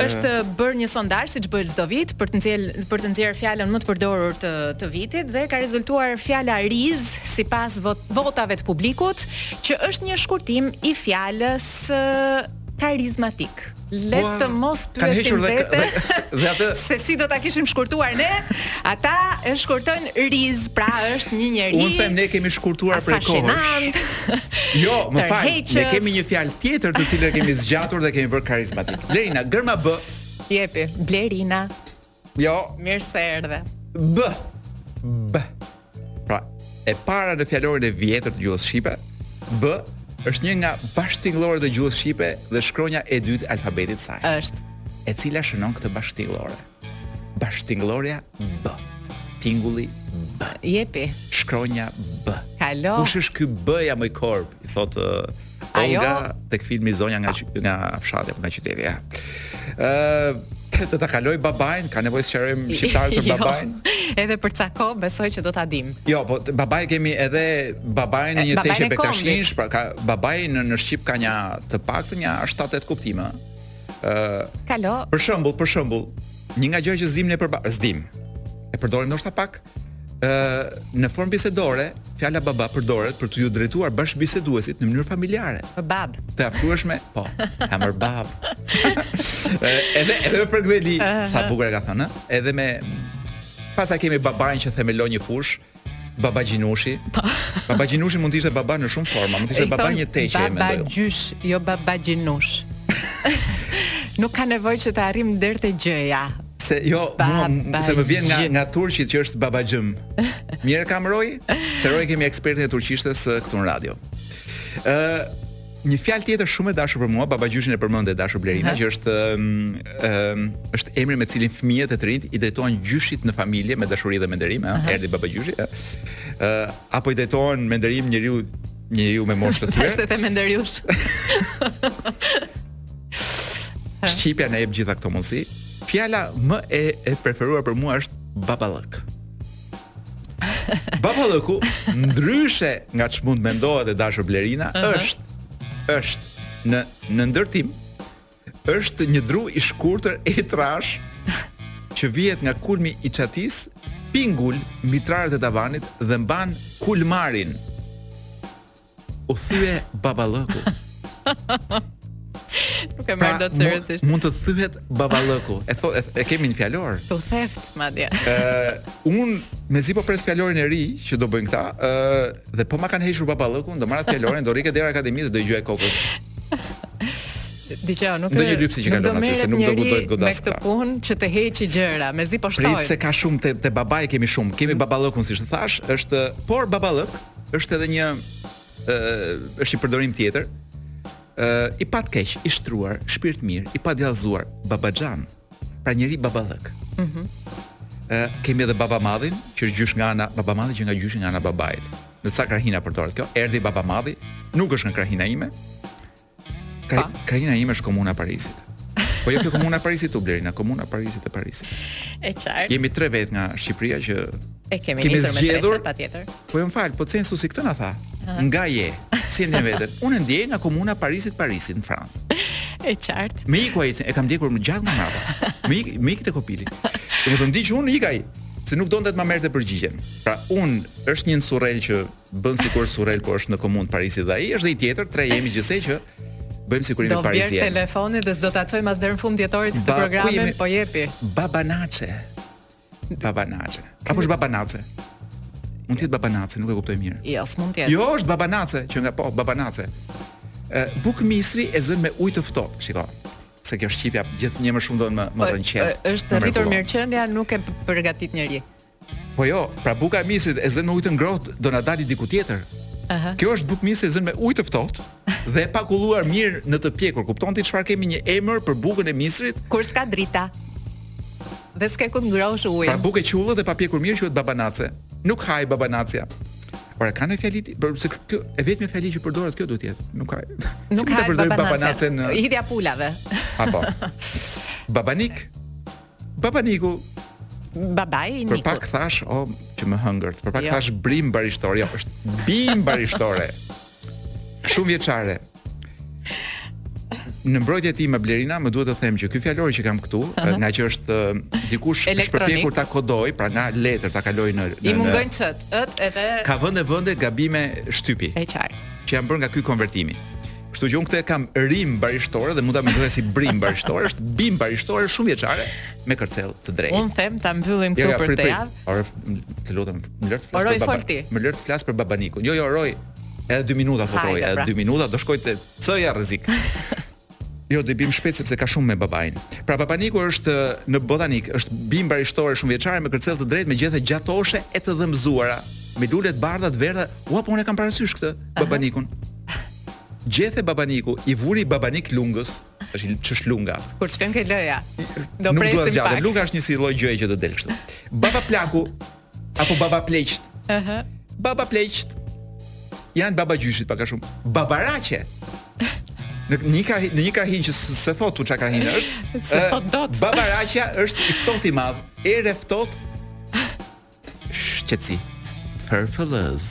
D: është
E: Eh.
D: bërë një sondazh siç bëhet çdo vit për të nxjerr për të nxjerr fjalën më të përdorur të të vitit dhe ka rezultuar fjala riz sipas vot, votave të publikut, që është një shkurtim i fjalës ë, karizmatik. Le
E: Ua,
D: të mos
E: kanë
D: pyesim
E: hequr dhe-
D: vete
E: dhe- dhe atë-
D: <laughs> se si do ta kishim shkurtuar ne, ata e shkurtojnë riz, pra është një njerëz.
E: Unë them ne kemi shkurtuar prej kohësh.
D: Afashinant.
E: Jo, më fal. Ne
D: Tërheqës.
E: kemi një fjalë tjetër të cilën e kemi zgjatur dhe kemi bërë karizmatik. Lerina, gërma b.
D: Jepi, Blerina,
E: Jo,
D: mirë se erdhe.
E: b. B. Pra, e para në fjalorin e vjetër të gjuhës shqipe, b është një nga bashkëtingëllorët e gjuhës shqipe dhe shkronja e dytë e alfabetit saj.
D: Është.
E: e cila shënon këtë bashkëtingëllore. Bashkëtingëllorja B. Tingulli B.
D: Jepi,
E: Shkronja B.
D: Kalo.
E: Kush është ky B-ja më i korp? I thot uh,
D: Ajo-
E: Olga tek filmi Zonja nga qy- nga fshati apo nga qyteti. Ja. Ë të, të ta kaloj babain, ka nevojë të sqarojmë shqiptarët për
D: <laughs> Jo,
E: babain.
D: Edhe për ca kohë besoj që do ta dim.
E: Jo, po t- babai kemi edhe babain në
D: E,
E: një
D: babain
E: teqe
D: e
E: bektashinsh, pra ka babai në, në shqip ka një të paktën një 7-8 kuptime. Ë
D: Kalo,
E: Për shembull, për shembull, një nga gjërat që zimni e përba, zdim. E përdorim ndoshta pak ë në formë bisedore, fjala baba përdoret për t'u drejtuar bashkëbiseduesit në mënyrë familjare,
D: bab.
E: të afrueshme, po, hamër bab.
D: <laughs>
E: Ë, edhe edhe për gdheli, sa bukur e ka thënë, ë? edhe me pastaj kemi babain që themelon një fush, Baba Gjinushi. Baba Gjinushi mund të ishte baba në shumë forma, mund të ishte
D: Po. I
E: baba
D: thon
E: një teqe
D: Baba
E: e mendoj. unë.
D: gjysh, jo baba
E: <laughs>
D: gjinush. Nuk ka nevojë që të arrim deri te gjëja.
E: Se jo, mua, m- se më vjen nga
D: Babagjë.
E: nga turqit që është babagjëm. Mirë kam roj, se roj kemi ekspertin e turqishtes ë, këtu në radio. Ë një fjalë tjetër shumë e dashur për mua, babagjyshin e përmendë e dashur Blerina, që është ëm, ëm, është emri me cilin fëmijët e të rinjt i drejtohen gjyshit në familje me dashuri dhe me nderim, ë, erdhi babagjyshi. ë. Ë apo i drejtohen me nderim njeriu njeriu me moshë të
D: <laughs> Është
E: thyer.
D: edhe menderiush.
E: <laughs> Shqipja na jep gjitha këto mundësi. Fjala më e, e preferuar për mua është baballëk. Baballëku, ndryshe nga që mund mendohet e dashur Blerina, është është në në ndërtim është një dru i shkurtër e i trash që vihet nga kulmi i çatis, pingul mbi trarët e tavanit dhe mban kulmarin. U thye baballëku.
D: Nuk e
E: Pra,
D: merr dot
E: mu-
D: seriozisht.
E: Mund të thyhet baballëku. E thon e, e kemi një fjalor.
D: Tu theft madje.
E: Ë un mezi po pres fjalorin e ri që do bëjnë këta, ë dhe po ma kanë hequr baballëkun, do marrat fjalorin, do rike dera akademisë, do i gjoj kokës.
D: Dgjoj, nuk
E: Ndonjë lypsi që
D: nuk
E: kalon
D: do
E: aty, se
D: merret
E: nuk do
D: njeri
E: guxojt godas
D: Me këtë
E: këta.
D: punë që të heqi gjëra, mezi po
E: Prit
D: shtojmë.
E: se ka shumë te te babai kemi shumë. Kemi baballëkun siç të thash, është por baballëk është edhe një ë është i përdorim tjetër. ë i pat keq, i shtruar, shpirt mirë, i pa djallëzuar, babaxhan. Pra njëri baballëk. Mhm. ë kemi edhe baba madhin, që është gjysh nga ana baba madhi që nga gjyshi nga ana babait. Në ca krahina përdoret kjo. Erdhi baba madhi, nuk është nga krahina ime. Kra, krahina ime është komuna e Parisit. Po jo kjo komuna e Parisit u blerina, komuna e Parisit e Parisit.
D: E qartë.
E: Jemi tre vetë nga Shqipëria që
D: E kemi,
E: kemi
D: nisur me
E: zgjedhur-
D: tresha patjetër.
E: po më fal, po censusi këtë na tha. Nga je, si e ndjen veten? Unë e ndjej nga komuna Parisit, Parisit në Francë.
D: E qartë.
E: Me iku ai, e kam ndjekur më gjatë nga mbrapa. Me ik, me ikte kopili. Domethënë ndiq unë ik ai, se nuk donte të ma merrte përgjigjen. Pra unë është një surrel që bën sikur surrel po është në komunë të Parisit dhe ai është dhe i tjetër, tre jemi gjithsej që bëjmë
D: Do
E: sikur jemi
D: bjerë
E: parisien.
D: telefonin dhe s'do ta çoj mas deri në fund dhjetorit këtë
E: Ba, ku
D: programin,
E: jemi?
D: po jepi.
E: Babanaçe. Babanaçe. Apo është babanace? Mund të jetë babanace, nuk e kuptoj mirë.
D: Jo, s'mund të jetë.
E: Jo, është babanace që nga po, babanace. Ë buk misri e zën me ujë të ftohtë. Shiko. Se kjo shqipja gjithë një më shumë do më më
D: Ë-
E: rën qell.
D: ë- Po, Është rritur mirëqenia, nuk e p- përgatit njëri.
E: Po jo, pra buka e misrit e zën me ujë të ngrohtë do na dali diku tjetër.
D: Aha.
E: Kjo është buk misri e zën me ujë të ftohtë dhe e pakulluar
D: Po,
E: mirë në të pjekur. Kupton ti çfarë kemi një emër për bukën e misrit?
D: Kur s'ka drita. dhe s'ke ku të ngrosh ujin.
E: Pra buke qullë dhe pa pjekur mirë quhet babanace. Nuk haj babanacja. Ora ka në fjali ti- për- se kjo e vetmja fjali që përdoret kjo duhet të jetë. Nuk haj. Si
D: Nuk
E: ta
D: ka
E: përdorim
D: babanace.
E: babanacen,
D: Në...
E: ë,
D: Hidja pulave.
E: Apo. Babanik. Babaniku.
D: Babai i
E: Për
D: Nikut.
E: pak thash, o, që më hëngërt. Për pak
D: Jo.
E: thash brim barishtore, jo, është bim barishtore. Shumë vjeçare. Në mbrojtje time Blerina, më duhet të them që ky fjalori që kam këtu, nga që është eh, dikush është
D: Elektronik.
E: përpjekur ta kodoj, pra nga letër ta kaloj në, në
D: I mungojnë
E: në-
D: çët, ët edhe
E: Ka vende vende gabime shtypi
D: e qartë.
E: që janë bërë nga ky konvertimi. Kështu që unë këtë e kam rim barishtore dhe mund ta mendoj si brim barishtore, është bim barishtore shumë vjeçare me kërcell të drejtë.
D: Un them ta mbyllim këtu për
E: prit,
D: këtë
E: prit.
D: javë.
E: Ore, m- të lutem, më lër të flas
D: Oroj,
E: për
D: fol ti.
E: babanikun. Më lër të flas për babanikun. Jo, jo, roj. Edhe 2 minuta po
D: Hajde,
E: roj, edhe
D: pra.
E: 2 minuta do shkoj te C-ja
D: <laughs>
E: rrezik. Jo, do i bim shpejt sepse ka shumë me babain. Pra babaniku është në botanik, është bim barishtore shumë vjeçare me kërcell të drejtë me gjethe gjatoshe e të dhëmzuara, me lule të bardha të verdha. Ua, po unë e kam parasysh këtë babanikun. Gjethe babaniku, i vuri babanik lungës, është ç'është lunga.
D: Kur shkojmë ke loja. Do
E: Nuk dua
D: presim
E: zgjatë.
D: pak.
E: Lunga është një si lloj gjëje që do del kështu. Baba plaku apo baba pleqt. Ëhë. Baba pleqt janë baba gjyshit pak a shumë. Babaraqe. Në një krahi, në një krahin që s- se thot u çka
D: <laughs>
E: krahin është.
D: Se po
E: ë,
D: thot dot.
E: Babaraqja është i ftohtë i madh, erë ftohtë. Shqetësi.
D: <laughs>
E: Fërfëllës.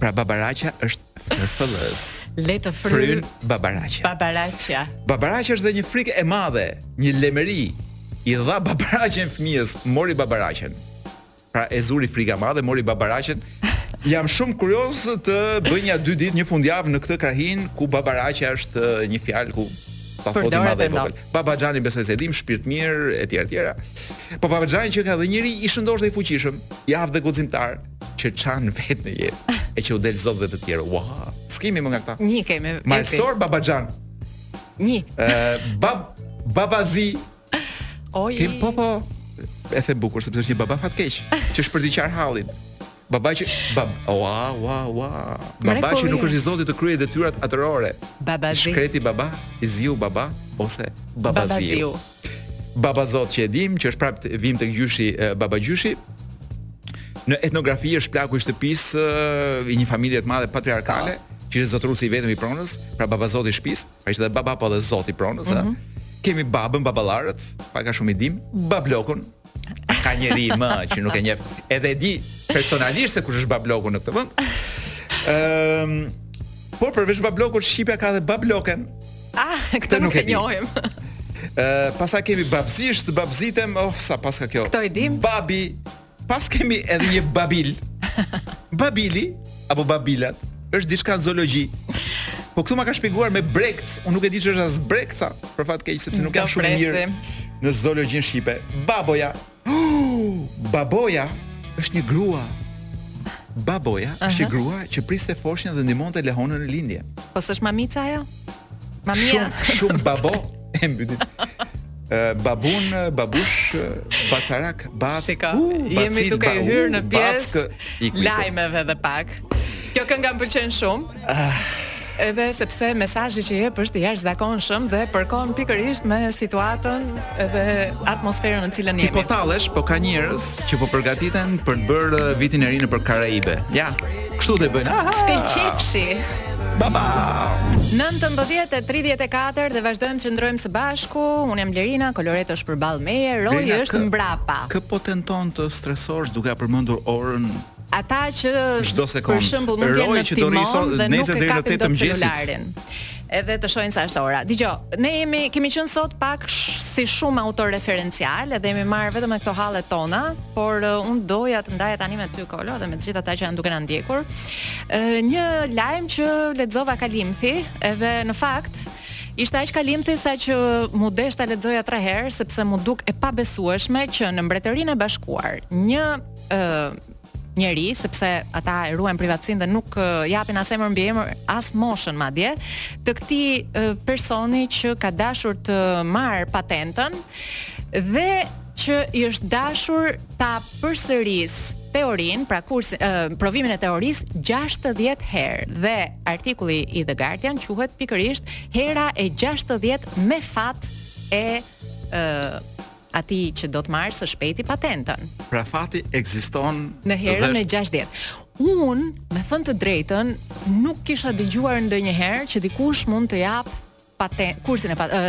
E: Pra babaraqja është fërfëllës.
D: Le të
E: Fryn
D: fryn
E: babaraqja.
D: babaraqja.
E: Babaraqja është dhe një frikë e madhe, një lemëri. I dha babaraqen fëmijës, mori babaraqen. Pra e zuri frika e madhe, mori babaraqen. Jam shumë kurioz të bëj një dy ditë, një fundjavë në këtë krahin ku babaraqja është eh, një fjalë ku ta foti
D: Përdoret
E: madhe
D: e
E: e vogël. Baba Xhani besoj se e dim, shpirt mirë etj etj. Po Baba Xhani që ka dhe njëri i shëndosh dhe i fuqishëm, i avë dhe guximtar që çan vetë në jetë e që u del zot dhe të tjerë. Ua, skimi më nga këta.
D: Një kemi. epi.
E: Malsor Baba Xhan.
D: Një.
E: Ë, bab babazi.
D: Oj.
E: Kem po po. E the bukur sepse është një baba fatkeq që shpërdiqar hallin. Baba që bab ua ua ua. Baba që
D: Mrekullia.
E: nuk është i zoti të kryej detyrat atërore.
D: Babazi.
E: Shkreti baba, i ziu baba ose
D: Babaziu.
E: babaziu. Baba Zot që e dim, që është prapë vim tek gjyshi e, baba gjyshi. Në etnografi është plaku i shtëpisë e, i një familje të madhe patriarkale, që është zotërusi i vetëm i pronës, pra baba Zoti i shtëpisë, pra ishte edhe baba po edhe Zoti i pronës, ëh. Kemi babën, baballarët, pak a shumë i dim, bablokun. Ka njëri më që nuk e njeh. Edhe e di personalisht se kush është babloku në këtë vend. Ëm Por përveç bablokut shqipja ka edhe babloken,
D: Ah, këtë
E: nuk
D: nuk
E: e
D: e
E: di. <laughs>
D: njohim.
E: Ë, pasa kemi babzisht, babzitem, oh, sa pas ka kjo.
D: Këto i dim.
E: Babi. Pas kemi edhe një
D: <laughs>
E: babil. Babili apo babilat është diçka në zoologji. Po këtu ma ka shpjeguar me brekt, unë nuk e di që është as brekca, për fat keq sepse nuk
D: Do
E: jam shumë i mirë
D: presim.
E: në zoologjinë shqipe. Baboja. <gasps> Uh, baboja është një grua. Baboja është një grua që priste foshnjën dhe ndihmonte lehonën në lindje.
D: Po s'është mamica ajo? Mamia.
E: Shumë shumë babo e mbyti. Ë, babun, ë, babush, ë, bacarak, bac.
D: Shiko,
E: u,
D: jemi
E: bacil,
D: duke
E: ba- u,
D: hyrë në pjesë
E: backë, iku, iku.
D: lajmeve dhe pak. Kjo këngë më pëlqen shumë.
E: Ah.
D: Edhe sepse mesazhi që jep është i jashtëzakonshëm dhe përkon pikërisht me situatën edhe atmosferën në cilën
E: Ti po
D: jemi.
E: tallesh, po ka njerëz që po përgatiten për të bërë ë, vitin e ri nëpër Karaibe. Ja, kështu dhe bëjnë. Aha,
D: Shkel qefshi.
E: Baba.
D: 19:34 dhe vazhdojmë që ndrojmë së bashku. Unë jam Lerina, Koloreto është përballë meje, Roji
E: Lerina,
D: është
E: kë-
D: mbrapa.
E: Kë po tenton të stresosh duke përmendur orën
D: Ata që
E: Çdo sekond.
D: për shembull mund të jenë
E: Eroj
D: në
E: që do rrisë
D: timon dhe nuk
E: nesër
D: e
E: deri në
D: kapin
E: 8 të
D: dot
E: mëngjesit.
D: celularin. Edhe të shohin sa është ora. Dgjoj, ne jemi kemi qenë sot pak sh, si shumë autoreferencial edhe jemi marrë vetëm me këto hallet tona, por uh, unë doja të ndaja tani me ty Kolo dhe me të gjithë ata që janë duke na ndjekur. Uh, një lajm që lexova Kalimthi, edhe në fakt Ishte aq kalimthi sa që mu desh ta lexoja tre herë sepse mu duk e pabesueshme që në Mbretërinë e Bashkuar një ë njeri sepse ata e ruajnë privatësinë dhe nuk uh, japin as emër mbi emër, as moshën madje, të këtij uh, personi që ka dashur të marr patentën dhe që i është dashur ta përsëris teorin, pra kursin, uh, provimin e teorisë 60 herë dhe artikulli i The Guardian quhet pikërisht hera e 60 me fat e ë atij që do të marrë së shpejti patentën.
E: Pra fati ekziston
D: Në herën
E: dhe
D: e
E: është-
D: 60. Unë, me thënë të drejtën, nuk kisha dëgjuar ndonjëherë që dikush mund të jap patent, kursin e pa- ë,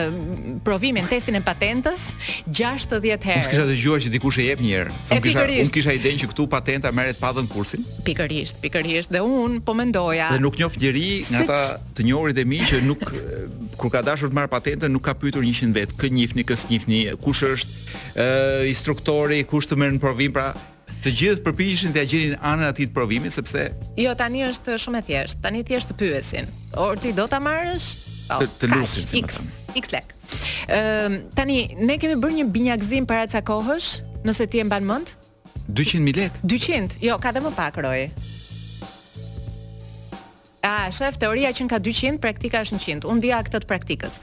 D: provimin, testin e patentës 60
E: Unë s'kisha
D: herë.
E: dëgjuar që dikush e jep një herë. Sa
D: E,
E: unë kisha
D: pikërisht.
E: unë kisha idenë që këtu patenta merret pa dhënë kursin
D: Pikërisht, pikërisht dhe unë po mendoja.
E: dhe nuk njoh njeri nga
D: Se
E: ata
D: ç-
E: të njohurit e mi që nuk e, kur ka dashur të marr patentën nuk ka pyetur 100 vet, kë njihni, kë s'njihni, kush është ë instruktori, kush të merr në provim, pra të gjithë përpiqeshin të ja gjenin anën e atij të provimit sepse
D: Jo, tani është shumë e thjeshtë. Tani thjesht të pyesin. Or ti do ta marrësh? Po,
E: Të- të
D: kaq,
E: lusin, si më
D: X,
E: thënë.
D: X lek. Ëm tani ne kemi bërë një binjakzim para ca kohësh, nëse ti e mban mend?
E: 200.000 lekë
D: 200. Jo, ka dhe më pak roj. A, shef, teoria që në ka 200, praktika është 100. Unë dija këtë të praktikës.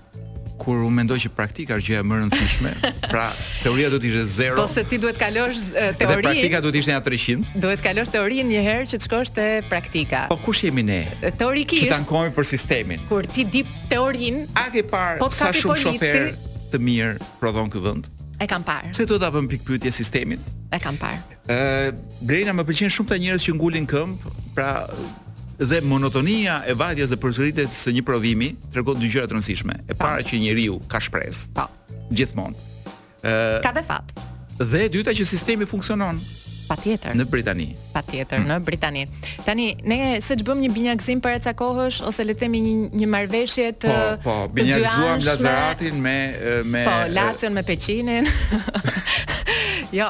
E: kur u mendoj që praktika është gjëja më e
D: <laughs>
E: rëndësishme, pra teoria do të ishte zero.
D: Po se ti duhet kalosh e,
E: Dhe
D: teorinë,
E: praktika do të ishte nga 300.
D: duhet kalosh teorinë një herë që të shkosh te praktika.
E: Po kush jemi ne? Që
D: Teorikisht,
E: tankohemi për sistemin.
D: kur ti di teorinë,
E: A ke parë
D: Po të
E: sa
D: kapi
E: shumë
D: polici.
E: shofer të mirë prodhon ky vend?
D: e kam parë.
E: Pse duhet ta bëm pikë pyetje sistemin?
D: E kam parë.
E: Ë, Blerina më pëlqen shumë ta njerëz që ngulin këmbë, pra dhe monotonia e vajtjes dhe përsëritjes së një provimi tregon dy gjëra të rëndësishme. E para që njeriu ka shpresë
D: Po.
E: gjithmonë.
D: Ka dhe fat.
E: Dhe e dyta që sistemi funksionon
D: Patjetër.
E: në Mm. Britani.
D: patjetër në Britani. Tani ne se të bëm një binjakzim para ca kohësh ose le të themi një një marrëveshje të
E: Po, po,
D: të
E: binjarzuam
D: dyanshme.
E: Lazaratin me e, me
D: Po,
E: e,
D: Lacion me Peqinin. <laughs> jo,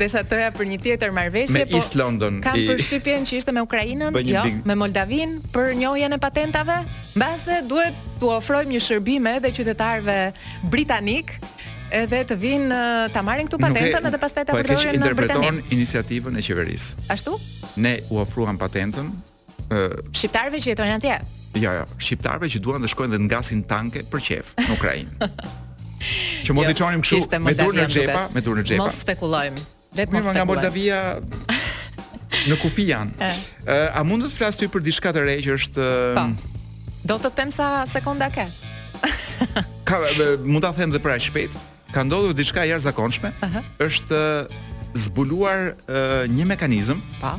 D: desha toja për një tjetër marrëveshje, po
E: me East London.
D: Kam
E: i-
D: përshtypjen që ishte me Ukrainën,
E: Bëj një
D: jo,
E: big-
D: me Moldavin për njohjen e patentave. Mbase duhet t'u ofrojmë një shërbim edhe qytetarëve britanik edhe të vinë ë, ta marrin këtu
E: Nuk e-
D: patentën edhe pastaj ta
E: po e keq
D: përdorin në
E: interpreton
D: Britani.
E: iniciativën e qeverisë.
D: Ashtu?
E: Ne u ofruam patentën, ë,
D: Shqiptarëve që jetojnë atje.
E: jo, jo, shqiptarëve që duan të shkojnë dhe të ngasin tanke për qef në Ukrainë.
D: <laughs>
E: që mos
D: Jo,
E: i çonim
D: ishte
E: kështu me dur
D: Moldavia,
E: në
D: më
E: xhepa,
D: duket.
E: me dur në xhepa.
D: Mos spekulojmë. Le të
E: Mirë,
D: mos
E: ma nga
D: spekulojmë. <laughs>
E: Moldavia në kufi janë.
D: E.
E: Ë, a mund të flas ty për diçka të re që është
D: Po. Do të them sa sekonda ke.
E: ka e, mund ta them dhe për aq shpejt, ka ndodhur diçka e jashtëzakonshme. Është e, zbuluar e, një mekanizëm
D: Po.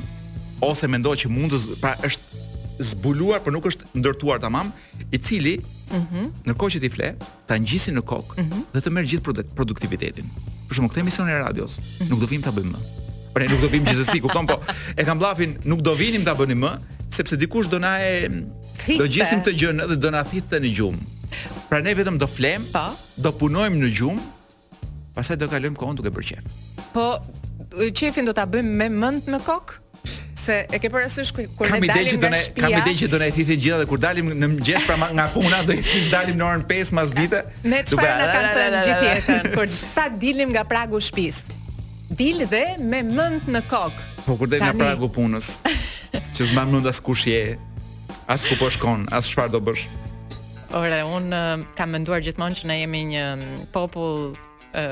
E: ose mendoj që mund të z- pra është zbuluar, por nuk është ndërtuar tamam, i cili ndërkohë që ti fle, ta ngjisin në kokë dhe të merr gjithë produ- produktivitetin. Për shembull, këtë emision e radios nuk do vim ta bëjmë më. Por ne nuk do vim gjithsesi, kupton po. E kam bllafin, nuk do vinim ta bënim më, sepse dikush do na e do
D: Thithte.
E: gjesim të gjën dhe do na thithte në gjumë. Pra ne vetëm do flem,
D: Po.
E: do punojmë në gjumë, pastaj do kalojmë kohën duke bërë qef.
D: Po qefin do ta bëjmë me mend në kokë? Se e ke parasysh ku- kur
E: Kam
D: ne
E: ide
D: dalim
E: që do
D: nga
E: ne
D: shtëpia.
E: kam ide që do ne thithin gjitha dhe kur dalim në mëngjes pra ma- nga puna do i siç dalim në orën 5 mas dite.
D: Me
E: do bëra
D: çfarë na kanë
E: la, la, la,
D: thënë
E: la,
D: gjithë
E: la.
D: jetën kur sa dilim nga pragu i shtëpisë. Dil dhe me mend në kokë.
E: Po kur del nga
D: Tani.
E: pragu
D: <laughs>
E: punës, që s'mban mend as kush je, as ku po shkon, as çfarë do bësh.
D: Ore, unë ë, kam menduar gjithmonë që ne jemi një mm, popull ë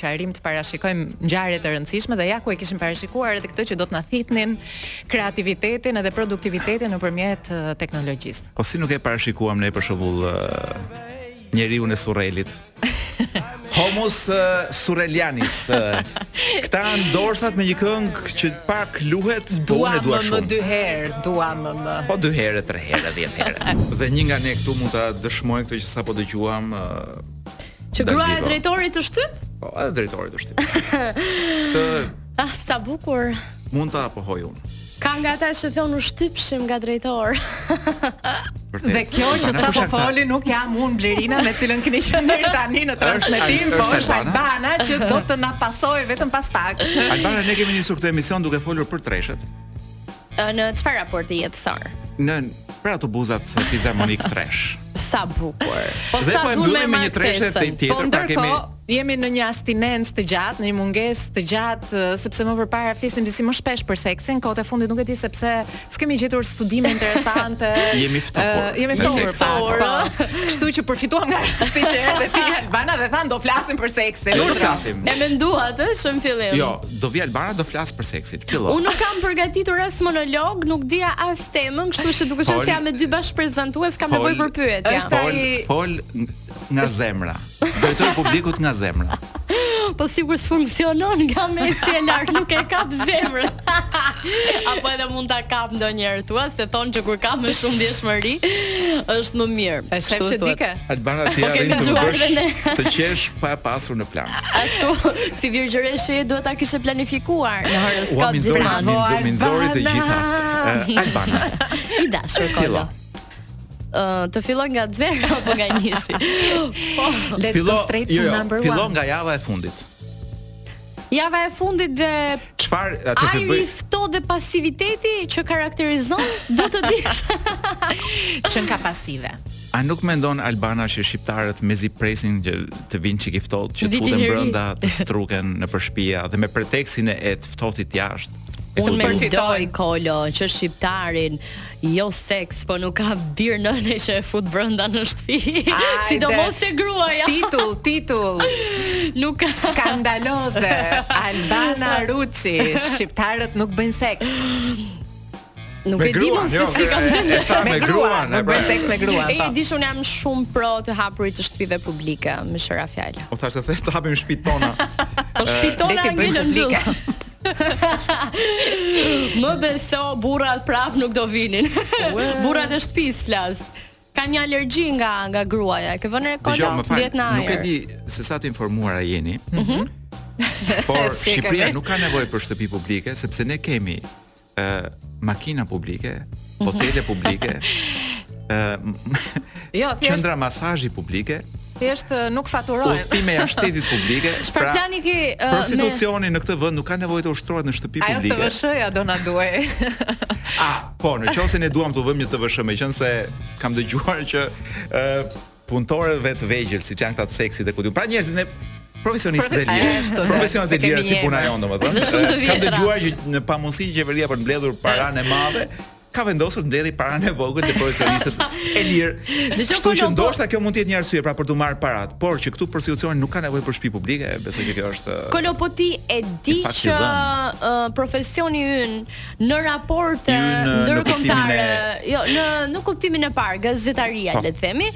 D: që arrim të parashikojmë ngjarje të rëndësishme dhe ja ku e kishim parashikuar edhe këtë që do të na thithnin kreativitetin edhe produktivitetin nëpërmjet ë, teknologjisë.
E: Po si nuk e parashikuam ne për shembull uh, njeriu në
D: <laughs>
E: Surrelit. Homus uh, Surrelianis. Uh, këta ndorsat me një këngë që pak luhet, po
D: Dua
E: unë e dua
D: më më
E: shumë.
D: dy herë, dua më më.
E: Po dy herë, tre herë, 10 herë. <laughs> dhe një nga ne këtu mund ta dëshmoj këtë që sapo dëgjuam ë,
F: Që gruaja e
E: Dalliva.
F: drejtorit të shtyp?
E: po edhe drejtori të shtëpisë. Të
F: Ah, sa bukur.
E: mund ta apohoj unë.
F: Ka nga ata që thonë u shtypshim nga drejtor.
E: Vërtet.
D: Dhe kjo që
E: Albana,
D: sa
E: kush
D: po
E: janë këta?
D: foli nuk jam unë Blerina me cilën keni qenë deri tani në transmetim,
E: Al-
D: po
E: është
D: është
E: Albana?
D: Albana që do të na pasojë vetëm pas pak.
E: Albana ne kemi nisur këtë emision duke folur për treshet.
F: Ë, Në çfarë raporti jetësor?
E: Në për autobuzat fizarmonik tresh.
F: Sa bukur. Po
E: Dhe po e mbyllim me një treshe
F: martesën?
E: te- tjetër,
D: po
E: pra
D: ndërkohë
E: kemi-
D: jemi në një abstinencë të gjatë, në një mungesë të gjatë, ë, sepse më përpara flisnim disi më shpesh për seksin, kohët e fundit nuk e di sepse s'kemi gjetur studime interesante.
E: <laughs> Jemi ftohur
D: ë, jemi
E: me
D: ftohur
E: seks.
D: pak. Po. Kështu që përfituam nga rasti që erdhe ti Albana dhe than do flasim për seksin.
E: Jo, do
D: Urdhra.
E: flasim.
F: E mendua atë që në fillim.
E: Jo, do vi Albana do flas për seksin. Fillo.
F: Unë nuk kam përgatitur as monolog, nuk dija as temën, kështu që duke qenë
E: Fol.
F: se jam me dy bashkëprezantues, kam nevojë për pyetje.
D: Është-
E: Fol,
D: ai-
E: fol nga zemra. Drejtoj publikut nga zemra.
F: po sigur s'funksionon nga mesi e lartë, nuk e kap zemrën. <laughs> Apo edhe mund ta kap ndonjëherë thua se thonë që kur ka më shumë ndjeshmëri është më mirë.
D: E shef që
F: thuhet.
D: dike.
E: Albana ti
F: Po, ke
E: arrin të më
F: gjuar dhe ne.
E: bësh të qesh pa e pasur në plan.
F: <laughs> Ashtu si virgjëreshi duhet ta kishe planifikuar në
E: Ua
F: horoskop
E: minzori,
F: gjithmonë.
E: minzori, minzori të gjitha.
D: Albana.
E: Eh, Albana.
F: I dashur Kolo.
E: Fillo.
F: Ë, të filloj nga zero <laughs> apo nga njëshi. Po,
D: Let's
E: Fillo,
D: go straight
E: jo,
D: to
E: jo,
D: number
E: fillo
D: 1.
E: nga java e fundit.
F: java e fundit dhe
E: Çfarë atë të
F: ajri
E: bëj?
F: i ftohtë dhe pasiviteti që karakterizon do të dish.
D: Që nga pasive.
E: A nuk mendon Albana që shqiptarët mezi presin që të vinë çik i ftohtë, që të
F: Vitin
E: futen
F: e ri.
E: brenda, të struken në përshpia dhe me preteksin e të ftohtit jashtë? e
F: <laughs> Unë
E: kulturës.
F: mendoj Kolo që shqiptarin jo seks, po nuk ka bir nëne që e fut brenda në shtëpi.
D: Ajde.
F: Sidomos te gruaja.
D: Titull, titull.
F: Nuk ka
D: Skandaloze.
F: <laughs>
D: Albana Ruçi, shqiptarët nuk bëjnë seks.
F: Nuk e di mos se si kam
E: e- e tha
D: Me gruan,
E: jo, e
D: nuk
E: pra.
D: bëjnë seks me gruan.
F: E
D: po.
F: dish unë jam shumë pro të hapurit të shtëpive publike, më shëra fjalë.
E: Po thashë se të hapim shtëpitë tona.
F: Po
D: le
F: shpitona
D: t'i bëjnë
F: ngjelën
D: publike.
F: publike. më beso burrat prap nuk do vinin. <laughs> burrat e shtëpis flas. Ka një alergji nga nga gruaja. Ke vënë re
E: Dëgjoj,
F: kolla
E: më fal,
F: 10 në
E: nuk e
F: ajër.
E: di se sa të informuar a jeni. <laughs> Por
D: Mhm. <laughs> Si e ke
E: Shqipëria
D: bërë?
E: nuk ka nevojë për shtëpi publike sepse ne kemi ë makina publike,
D: Mhm.
E: hotele
D: <laughs>
E: publike, ë m-
D: <laughs> Jo, thjesht
E: qendra masazhi publike,
D: thjesht eh, nuk faturohen.
E: udhëtime jashtë shtetit
D: <laughs>
E: publike. Pra,
F: Çfarë plani ke ë,
E: Prostitucioni në këtë vend nuk ka nevojë të ushtrohet në shtëpi
D: Ajo të
E: publike.
D: vëshëja do na duaj.
E: A, po, në qoftë se ne duam të vëmë një TVSH, meqense se kam dëgjuar që ë punëtorëve të vegjël, siç janë këta të seksit dhe ku diun. Pra njerëzit ne profesionistë të
F: po,
D: Ashtu,
E: lirë.
D: da,
E: Profesionistë
D: se
E: të
D: kemi
E: lirë si
D: një
E: puna
D: emër.
E: jonë, domethënë.
F: Dhe shumë të
E: Ë, Kam
F: vjetra.
E: dëgjuar që në pamundësi që qeveria për të mbledhur paranë e madhe ka vendosur të mbledhë paranë e vogël të profesionistët e lirë.
F: Dëgjoj,
E: Kështu që
F: Kolo, po-
E: ndoshta kjo mund të jetë një arsye pra për të marrë parat, por që këtu prostitucioni nuk ka nevojë për shtëpi publike, besoj që kjo është ë,
F: Kolo, po ti e di
E: I fakt i
F: që
E: dhënë.
F: uh, profesioni ynë në raporte
E: Ynë në
F: ndërkombëtare,
E: kuptimin
F: jo, në në kuptimin e parë, gazetaria
E: Po.
F: le të themi,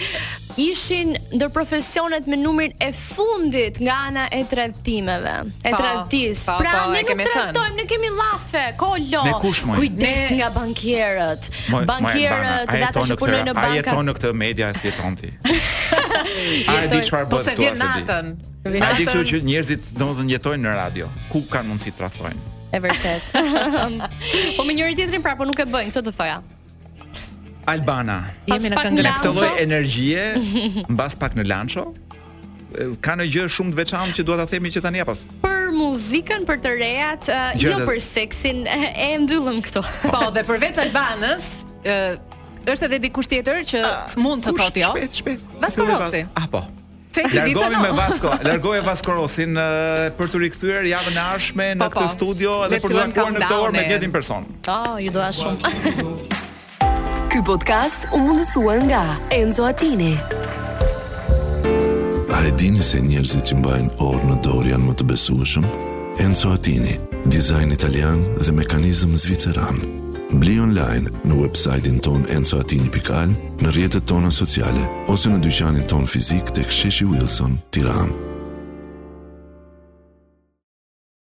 F: ishin ndër profesionet me numrin e fundit nga ana e tradhtimeve, e
D: Po,
F: tradhtis.
D: po,
F: Pra
D: po,
F: ne
D: e
F: nuk
D: kemi thënë.
F: tradhtojmë, ne kemi llafe, Kolo.
E: Ne kush, moj?
D: Ne-
F: Kujdes nga bankierët.
E: Moj- moj Albana,
D: eh,
F: Bankierët,
E: a
F: ata
E: jeton në
F: që
E: këtë-
F: punojnë në
E: A
F: banka.
E: jeton në këtë media si jeton
D: <laughs>
E: ti? A e di çfarë
D: Po
E: bëhet
D: se
E: këtu
D: vjen
E: as e di.
D: natën. Vjen
E: A e di
D: natën.
E: këtu që njerëzit domethënë jetojnë në radio. Ku kanë mundësi të rrethojnë?
F: E vërtet. po me njëri tjetrin pra, po nuk e bëjnë, këtë të thoja.
E: Albana,
D: Jemi në
F: Pas pak
D: këngë
F: në
E: me
D: lart.
E: këtë lloj
F: Lanço?
E: energjie,
D: <laughs>
E: mbas pak në Lanço, e, ka në gjë shumë të veçantë që dua ta themi që tani apo.
F: për muzikën, për të rejat, uh, jo
E: Gjërat-
F: për seksin, e, e mbyllëm këtu.
D: Po, dhe përveç Albanës, ë është edhe dikush tjetër që mund të
E: Ah, Kush?
D: thotë jo.
E: Shpejt, shpejt.
D: Vasco
E: Filloj
D: Rossi.
E: va- Ah po.
D: Se <laughs> i di që
E: Largohemi
D: no.
E: me
D: <laughs>
E: Vasco, largohemi Vasco Rosin e, për të rikthyer javën e ardhshme në
D: Po, po.
E: këtë studio
D: Le
E: edhe për të
D: fillojmë
E: takuar në këtë orë me
D: countdown-in.
E: të njëjtin person.
F: Oh, ju doa shumë.
A: Ky podcast u mundësua nga Enzo Attini.
B: A e dini se njerëzit që mbajnë orë në dorë janë më të besueshëm? Enzo Attini, dizajn italian dhe mekanizëm zviceran. Bli online në website-in ton enzoatini.al, në rrjetet tona sociale ose në dyqanin ton fizik tek Sheshi Wilson, Tiranë.